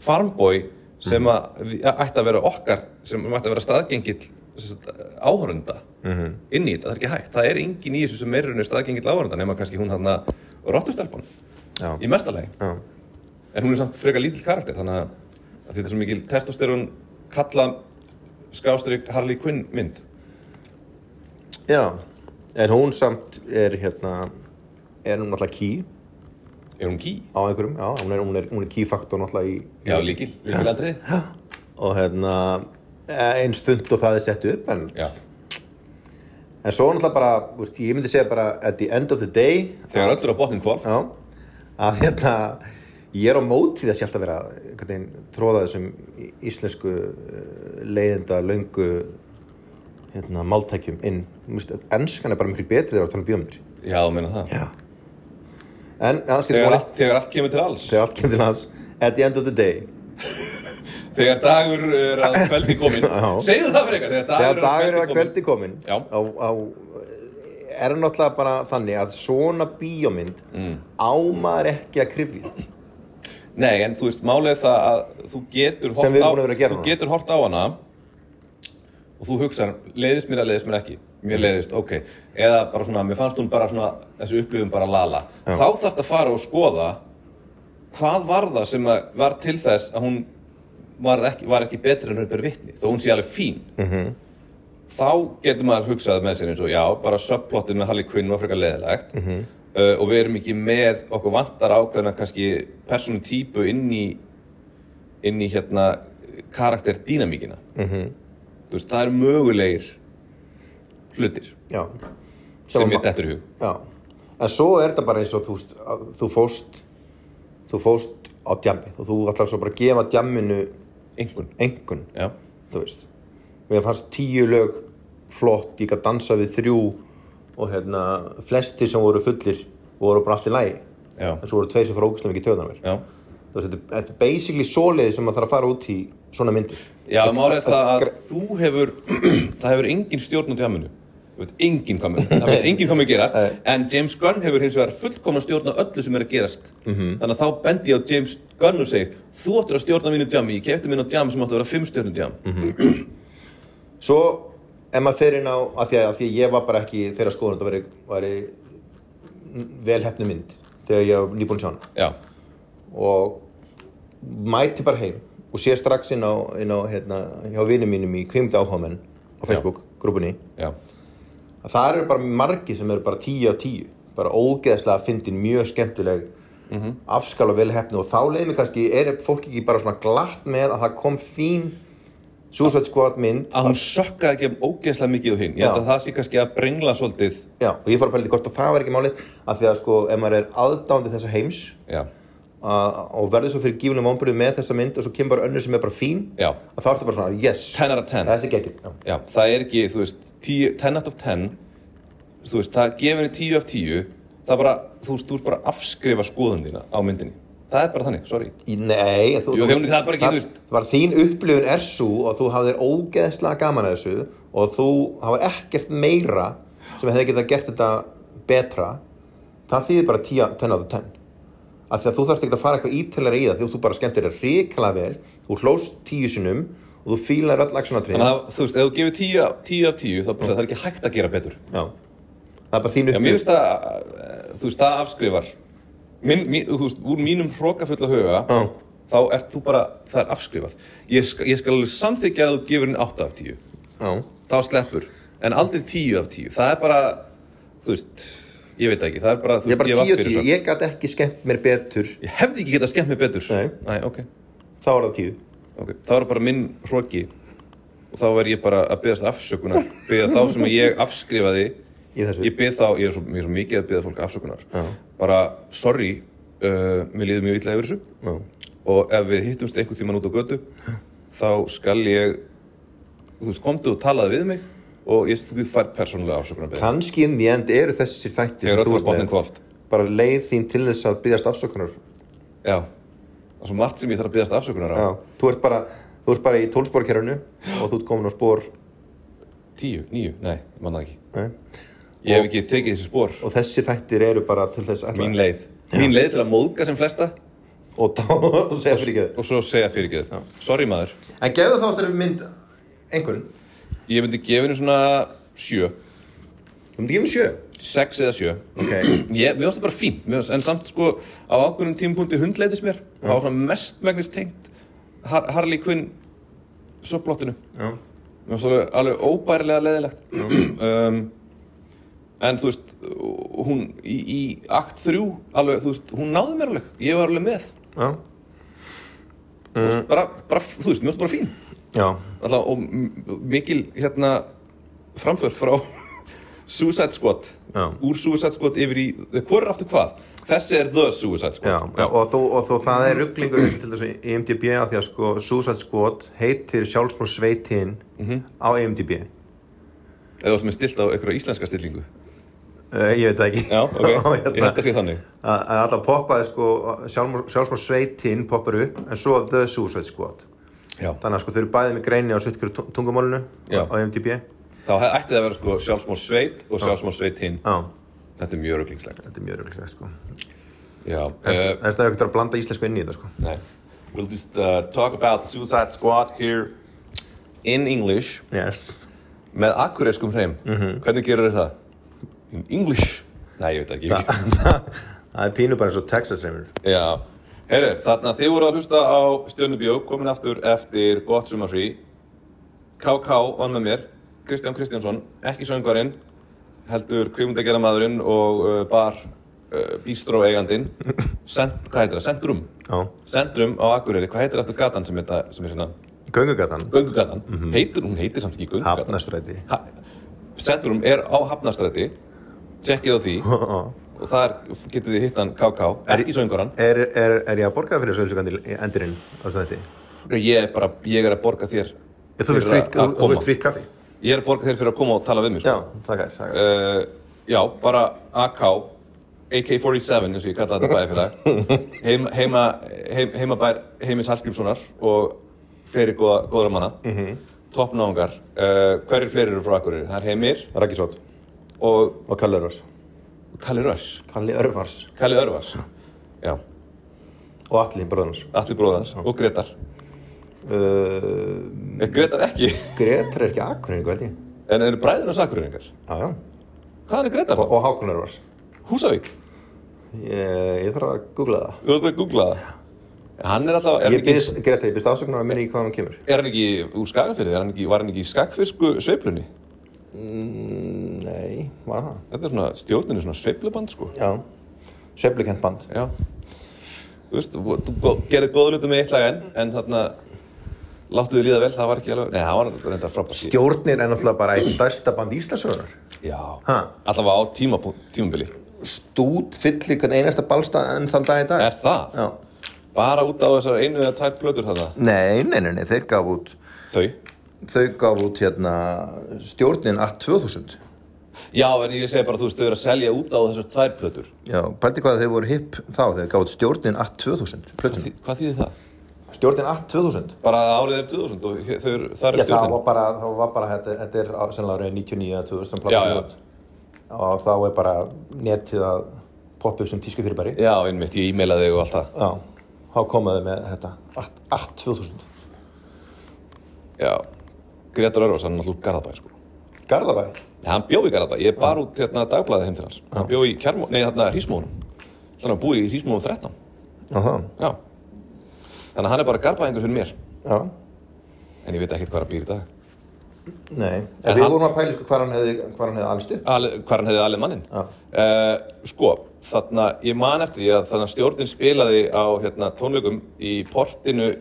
S3: farmboy sem að, við- að ætti að vera okkar sem ætti að vera staðgengill sem sagt, áhorunda
S4: Mhm.
S3: inn í þetta, það er ekki hægt það er engin í þessu sem er í rauninni staðgengill áhorunda nema kannski hún hann að rottustelpan
S4: Já.
S3: í mestalegi
S4: Já.
S3: en hún er samt frekar lítill karakter þannig að af því þetta er svo mikil testosterun kalla skástrík Harley Quinn mynd
S4: Já, en hún samt er hérna, er hún náttúrulega key
S3: er hún ký?
S4: á einhverjum, já, hún er, hún er, hún er key faktor náttúrulega í,
S3: Já, líkil, líkilandrið
S4: *laughs* og hérna, einn stund og það er sett upp, en,
S3: Já,
S4: en svo náttúrulega bara, þú veist, ég myndi segja bara at the end of the day,
S3: þegar öll eru á botnin kvolf
S4: já, að hérna, ég er á móti þess ég alltaf vera, einhvern veginn, tróða þessum í- íslensku eh, leiðinda, löngu, hérna, máltækjum inn, þú veist, enskan er bara miklu betri þegar það er að tala um bjómyndir,
S3: Já, þú meina það
S4: já, en, já, það skiptir
S3: þegar
S4: máli.
S3: allt, þegar allt kemur til alls
S4: þegar allt kemur til hans at the end of the day
S3: Þegar dagur er að
S4: *laughs*
S3: kveldi komin
S4: Já.
S3: Segðu það fyrir eitthvað
S4: þegar dagur er að kveldi komin
S3: Já.
S4: á, á, er hann náttúrulega bara þannig að svona bíómynd mm. ámar ekki að krifja
S3: Nei, en þú veist, málið er það að þú getur
S4: Sem við
S3: horft á,
S4: erum búin að vera að gera
S3: Þú
S4: núna.
S3: getur hort á hana og þú hugsar, leiðist mér að leiðist mér ekki Mér
S4: Mm.
S3: leiðist, ok Eða bara svona, mér fannst hún bara svona þessi upplifum bara lala Þá þarf þetta að fara og skoða hvað var það sem að var til þess að hún var ekki, var ekki betri en raun ber vitni þó hún sé alveg fín -hmm. þá getur maður hugsað með sér eins og já, bara subplotið með Harley Quinn var frekar leðilegt mm -hmm. og við erum ekki með okkur vantar ákveðna kannski persónu típu inn í inn í hérna karakter dýnamíkina mm -hmm. veist, það er mögulegir hlutir
S4: já.
S3: sem
S4: Sem
S3: ég
S4: að-
S3: dettur í hug
S4: já en svo er þetta bara eins og þú, veist, að þú fóst þú fóst á djammi og þú ætlar svo bara að gefa djamminu
S3: einhvern,
S4: engun
S3: já,
S4: þú veist mér fannst tíu lög flott ég gæti dansa við þrjú og hérna flesti sem voru fullir voru bara allt í lægi
S3: já,
S4: en svo voru tveir sem fóru ógæslega mikið töðan á mér
S3: já
S4: þú veist, þetta er- þetta er basically svoleiði sem maður þarf að fara út í svona myndir
S3: Já, málið er það að
S4: gre-
S3: þú hefur *clears throat* það hefur engin stjórn á djaminu það veit enginn hvað mun það veit enginn hvað mun gerast en James Gunn hefur hins vegar fullkomna stjórn á öllu sem er að gerast
S4: Mhm.
S3: þannig að þá bendi ég á James Gunn og segir þú ættir að stjórna mínu djami, ég kefti mínu djami sem átti að vera fimm stjórnum djam
S4: Mhm. svo ef maður fer inn á af því að, af því að ég var bara ekki þeirra skoðun þetta væri, væri velhefni mynd þegar ég var nýbúin sján
S3: Já,
S4: og mæti bara heim og sé strax inn á, inn á hérna, hjá vinum mínum í kvimta áhámen á Facebook, grúpunni
S3: já,
S4: að það eru bara margi sem eru bara tíu af tíu bara ógeðslega að fyndin mjög skemmtileg mm -hmm. afskala velhefni og þá leiði mig kannski er fólk ekki bara svona glatt með að það kom fín Suicide Squad mynd
S3: að hún sökkaði ekki um ógeðslega mikið á hinn ég held
S4: Já.
S3: að það sé kannski að brengla svolítið
S4: Já, og ég fór að pæla í hvort að það var ekki málið af því að sko, ef maður er aðdándi þessa heims
S3: Já,
S4: að- og verður svo fyrir gífunum vonbröðu með þessa mynd og svo kemur bara önnur sem er bara fín
S3: Já.
S4: að þá ertu bara svona, yes,
S3: 10 out of 10
S4: þessi geggir já.
S3: Já, það er ekki, þú veist, 10, 10 out of 10 þú veist, það gefur henni 10 af 10 það er bara, þú veist, þú er bara að afskrifa skoðun þína á myndinni það er bara þannig, sorry
S4: Í- Nei, þú,
S3: Jú, þjónir, það er bara ekki, þú veist.
S4: var þín upplifun er svo og þú hafðir ógeðslega gaman að þessu og þú hafði ekkert meira sem hefði getað gert þetta betra það þýðir bara 10 10 out of 10 af því að þú þarft ekki að fara eitthvað ítelera í það því að þú bara skemmtir þér ríkala vel þú hlóst tíu sinum og þú fílar öll aksjónatrið
S3: þannig að, þú veist, ef þú gefur 10, af- 10 af 10 þá er bara, það er ekki hægt að gera betur
S4: Já, það er bara þín
S3: Já, mér
S4: upplifun
S3: finnst það, eh, þú veist, það afskrifar minn, mín, þú veist, úr mínum hrókafulla huga
S4: Já.
S3: þá ert þú bara, það er afskrifað ég skal, ég skal alveg samþykja að þú gefur henni 8 af 10
S4: Já,
S3: þá sleppur, en aldrei 10 af 10 það er bara, þú veist ég veit það ekki, það er bara, þú
S4: ég er
S3: veist,
S4: bara
S3: ég
S4: tíu
S3: var
S4: og tíu,
S3: fyrir
S4: ég gat ekki skemmt mér betur
S3: ég hefði ekki getað skemmt mig betur
S4: Nei.
S3: ok,
S4: þá er það tíu
S3: ok, þá er bara minn hróki og þá verð ég bara að beðast afsökunar beða þá sem ég afskrifaði
S4: Í þessu.
S3: ég beð þá, ég er svo, ég er svo mikið að beða fólk afsökunar Já. bara, sorry uh, mér líður mjög illa yfir þessu
S4: Já.
S3: og ef við hittumst einhvern tíman út á götu þá skal ég þú veist, komdu og talaði við mig og ég þú fær persónulega afsökunar
S4: kannski inn í end eru þessir þættir
S3: Þegar
S4: sem
S3: öllu
S4: þú
S3: var
S4: ert
S3: botnin
S4: með.
S3: kvalt.
S4: bara leið þín til þess að byggjast afsökunar
S3: Já, það er svo margt sem ég þarf að beðast afsökunar á
S4: Já, þú ert bara, þú ert bara í tólsporkerfinu og þú ert komin á spór
S3: Tíu, níu, nei, ég man það ekki
S4: nei?
S3: Ég hef ekki tekið þessi spór
S4: og þessi þættir eru bara til þess ætla-
S3: Mín leið Mín leið til að móðga sem flesta
S4: og *laughs* þá og segja fyrir ekki
S3: og svo segja fyrirgeður Sorry maður
S4: þau en gefðu þá þessari mynd einhvern
S3: Ég myndi gefa henni svona sjö
S4: þú myndi gefa mér sjö
S3: Sex eða sjö
S4: ok
S3: ég, Mér finnst það bara fínt mér finnst, En samt sko á ákveðnum tímapunkti hundleiðis mér Það var svona mestmægnist tengt Har Harley Quinn Söpblottinu
S4: Já.
S3: Mér finnst það alveg- alveg óbærilega leðilegt *clears throat* um, En þú veist Hún í, í akt þrjú alveg, þú veist, Hún náði mér alveg Ég var alveg með
S4: já,
S3: Þú veist, bara, bara, Þú veist, mér finnst það bara fín
S4: já.
S3: Alltaf, og m- mikil hérna framför frá *laughs* Suicide Squad
S4: Já.
S3: úr Suicide Squad yfir í hvor er aftur hvað, þessi er The Suicide
S4: Já,
S3: Squad
S4: og, þó, og þó það er rugglingur til þessu IMDb af því að sko Suicide Squad heitir sjálfsmór sveitin
S3: Mhm.
S4: á IMDb uh,
S3: eða þú ert með stilt á einhverja íslenska stillingu
S4: Eh, ég veit það ekki
S3: já, ok,
S4: *laughs* Og hérna,
S3: ég held að sé þannig
S4: að að alltaf poppaði sko sjálfsmór sveitinn poppar upp en svo The Suicide Squad
S3: já.
S4: þannig að sko þau eru bæðið með greini á svittkur tungumálinu
S3: Já.
S4: á IMDb já,
S3: þá hef- ætti það að vera sko sjálfsmór sveit og sjálfsmór sveit hinn
S4: þetta
S3: þetta er mjög röglingslegt
S4: er mjög röglega sko þess
S3: já,
S4: uh,
S3: eh,
S4: að það er ekkert að blanda íslensku inn í þetta sko
S3: nei. we'll just uh, talk about the Suicide Squad here in English
S4: yes
S3: með akkureyskum hreim hvernig gerur það? in English? nei, ég veit ekki, ég ekki.
S4: *laughs* það er pínu bara eins og Texas reymur
S3: Já, herru, þarna þið voru að hlusta á Stjörnubjó, komin aftur eftir gott sumarfrí KK vann með mér, Kristján Kristjánsson, ekki söngvarinn, heldur kvimdagerðamaðurinn og uh, bar uh, bístró eigandinn, Sent, hvað heitir það, Sentrum,
S4: já
S3: Sentrum á Akureyri, hvað heitir eftir gatan sem, heita, sem er hérna,
S4: göngugatan *laughs*
S3: Göngugatan, heitir, hún heitir samt ekki Göngugatan,
S4: hafnastræti
S3: ha, Sentrum er á Hafnastræti, tjekkið á því og þar getið þið hitt hann KK, ekki söngvarann,
S4: er, er, er ég að borga fyrir sögulsugandi endurinn á þessu þetta
S3: Ég er bara, ég er að borga þér
S4: þú
S3: fyrir að- að koma.
S4: veist fritt kaffi
S3: Ég er að borga þér fyrir að koma og tala við mig
S4: já,
S3: sko.
S4: þakkar, þakkar.
S3: uh, já, bara AK AK-47 eins og ég kalla þetta
S4: *laughs*
S3: bæðifélag heim, heima, heim, heimabær Heimis Hallgrímssonar og fleiri góða, góðra manna mm
S4: Mhm.
S3: -hmm. toppnáðungar uh, hverjir fleiri eru frá Akureyri? Það er Heimir
S4: Rækisótt
S3: og
S4: og Kalli Örvars
S3: Kalli Röss
S4: Kalli Örvars
S3: Kalli Örvars já,
S4: og Atli, bróðunars
S3: allir bróðans og Gretar
S4: uh,
S3: er Gretar ekki, *laughs*
S4: Gretar er ekki akkurinningu held ég
S3: en eru bræðinars Akureyringar
S4: já, já
S3: hvaðan er Gretar þá?
S4: og Hákonar vars
S3: Húsavík
S4: ég, ég þarf að googla það
S3: Þú ert að googla það Hann er alltaf, er,
S4: ég
S3: hann
S4: byrðist,
S3: ekki,
S4: Greta, ég byrðist afsökunar að minni ekki hvaðan hún kemur
S3: er hann ekki úr skagafyrði, er hann ekki, var hann ekki í skagfyrsku sveiflunni?
S4: nei, var það
S3: Þetta er svona, stjórnin er svona sveifluband sko.
S4: já, sveiflukent band
S3: Já. Þú veist, þú- þú gerir góða hluti með eitt lag enn, en þarna láttu þið líða vel, það var ekki alveg, nei, það var reyndar frábært.
S4: stjórnir er náttúrulega bara eitt stærsta band Íslandsögunar
S3: Já.
S4: Ha?
S3: Alltaf á tímapunkt, tímabili.
S4: stút fyllir hvern einasta balsta enn þann dag í dag
S3: Er það?
S4: já,
S3: Bara út á þessar einu eða tær plötur þarna
S4: Nei, nei, nei, nei, þeir gaf út
S3: Þau
S4: þau gaf út hérna stjórnin að 2000
S3: Já, en ég segi bara, þú veist, þau eru að selja út á þessar tvær plötur
S4: Já, pældi hvað þau voru hipp þá þau gaf út stjórnin að 2000 plötun.
S3: Þi- Hvað þýðir það?
S4: Stjórnin að 2000
S3: Bara að árið er 2000 og hér- þau eru, það
S4: Já,
S3: er
S4: það
S3: stjórnin
S4: var bara, það var bara þetta, þetta er á- sennilega árið 99 eða 2000 sem platan
S3: Já, já.
S4: kom út. og þá er bara netið að poppa upp sem tísku fyrirbæri
S3: Já, einmitt, ég e-mailaði þig og allt það
S4: Já, þá komaðu með þetta að, að 2000
S3: Já, Gretar Örvars, hann er náttúrulega úr Garðabæ, sko
S4: Garðabæ
S3: Nei, hann bjóð í Garðabæ, ég bar út hérna dagblæði heim til hans Hann bjóð í Kjarmó, nei, þarna Hrísmóðunum Þannig að hann búið í Hrísmóðum 13
S4: Já, það.
S3: Já Þannig að hann er bara garðbæðingur fyrir mér
S4: já,
S3: En ég veit ekkert hvað hann býr í dag
S4: nei En við
S3: hann-
S4: vorum að pæla ykkur hvar hann hefði, hvar hann hefði alist upp
S3: Ali, hvar hann hefði alveg mannin
S4: Já.
S3: uh, sko, þarna ég man eftir því að þannig að stjórnin spilaði á hérna, tónleikum í portinu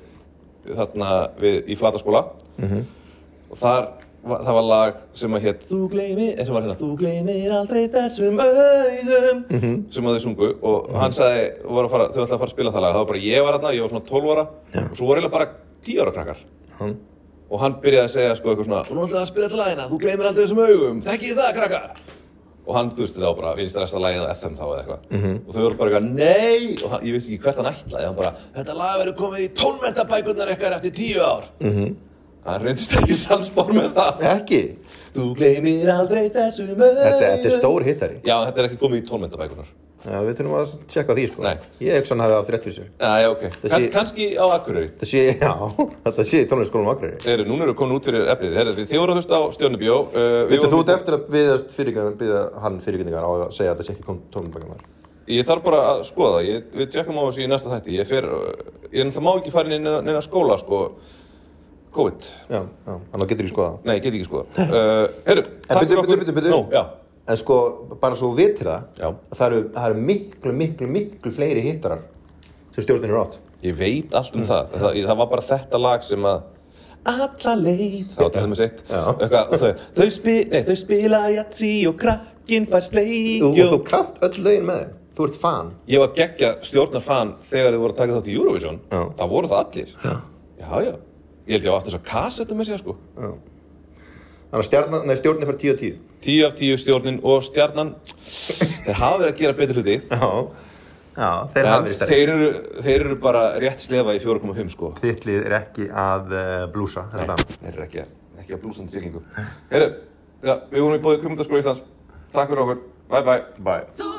S3: þarna við, í flataskóla og þar var, það var lag sem að hétt þú gleymir, eh, sem var hérna þú gleymir aldrei þessum auðum sem að þau sungu og hann sagði voru að fara, þau ætlaði að fara að spila það lag það var bara ég var hérna, ég var svona 12 ára og svo voru eiginlega bara 10 ára krakkar og hann byrjaði að segja sko eitthvað svona og nú ætlaði að spila þetta lagina, þú gleymir aldrei þessum augum þekkið þið það krakkar og hann, þú veist, þetta á bara vinstræsta lagið á FM þá eða eitthvað
S4: Mhm.
S3: og þau voru bara eitthvað, nei og hann, ég veist ekki hvert hann ætlaði, hann bara þetta lag verður komið í tónmentabækurnar eitthvað eftir tíu ár
S4: Mhm.
S3: hann reyndist ekki sannspór með það
S4: Ekki,
S3: þú gleymir aldrei þessum augum
S4: þetta, þetta er stór hittari
S3: já, þetta er ekki komið í tónmentabækurnar
S4: Já, við þurfum að tjekka á því sko
S3: Nei.
S4: Ég hef hann hefði átt rétt fyrir sér
S3: já, já, ok, Kans,
S4: sé-
S3: kannski á Akureyri
S4: Þetta sé, já, þetta sé í tónleiksskólum Akureyri
S3: Eru, núna eru komin út fyrir efnið, Heyrðu, þið þið voru að hlusta á Stjörnubjó uh, við
S4: Þetta þú
S3: vorum-
S4: ert eftir að byggðast fyrirgjöndar, byggða hann fyrirgjöndingar á að segja að þetta sé ekki kom tónumbakamæður.
S3: Ég þarf bara að skoða, ég, við tjekkum á þessu í næsta þætti, ég fer, uh, ég náttúrulega má ekki fara inn í neina skóla, sko, COVID,
S4: Já, já, þannig að getur ekki skoða það.
S3: nei, ég get ekki skoða.
S4: *laughs*
S3: Uh, Herru,
S4: En
S3: takk
S4: byrju,
S3: fyrir
S4: byrju,
S3: okkur.
S4: byrju, byrju.
S3: Nú, já,
S4: En sko, bara svo við til það,
S3: Já.
S4: það eru, það eru miklu, miklu, miklu fleiri hittarar sem stjórnin eru átt.
S3: ég veit allt um það. það, ég- það var bara þetta lag sem að, alla leið, það var til dæmis eitt,
S4: Já.
S3: eitthvað, og þau, þau, spi, nei, þau spila jatsi og krakkinn fær
S4: Þú, og þú
S3: sleikjó.
S4: kant öll lögin með þeim. Þú ert fan.
S3: Ég var geggja stjórnarfan þegar þau voru að taka þátt í Eurovision,
S4: Já.
S3: það voru það allir. Já, já, ég held ég á aftur þess að kassettu með sér, sko.
S4: Þannig að stjarnan, nei, stjórnin fyrir 10 og 10.
S3: Tíu af tíu stjórnin og stjarnan þeir hafa verið að gera betur hluti
S4: Já, já, þeir hafa
S3: en
S4: verið stærri.
S3: þeir eru, þeir eru bara rétt slefa í 4,5 sko
S4: Þitt lið er ekki að uh, blúsa, þetta dæmi.
S3: þeir eru ekki, ekki að blúsandi siglingu Heyrðu, já, við vorum í bóði Krummundaskóla Íslands Takk fyrir okkur, bye bye
S4: Bye.
S6: Þú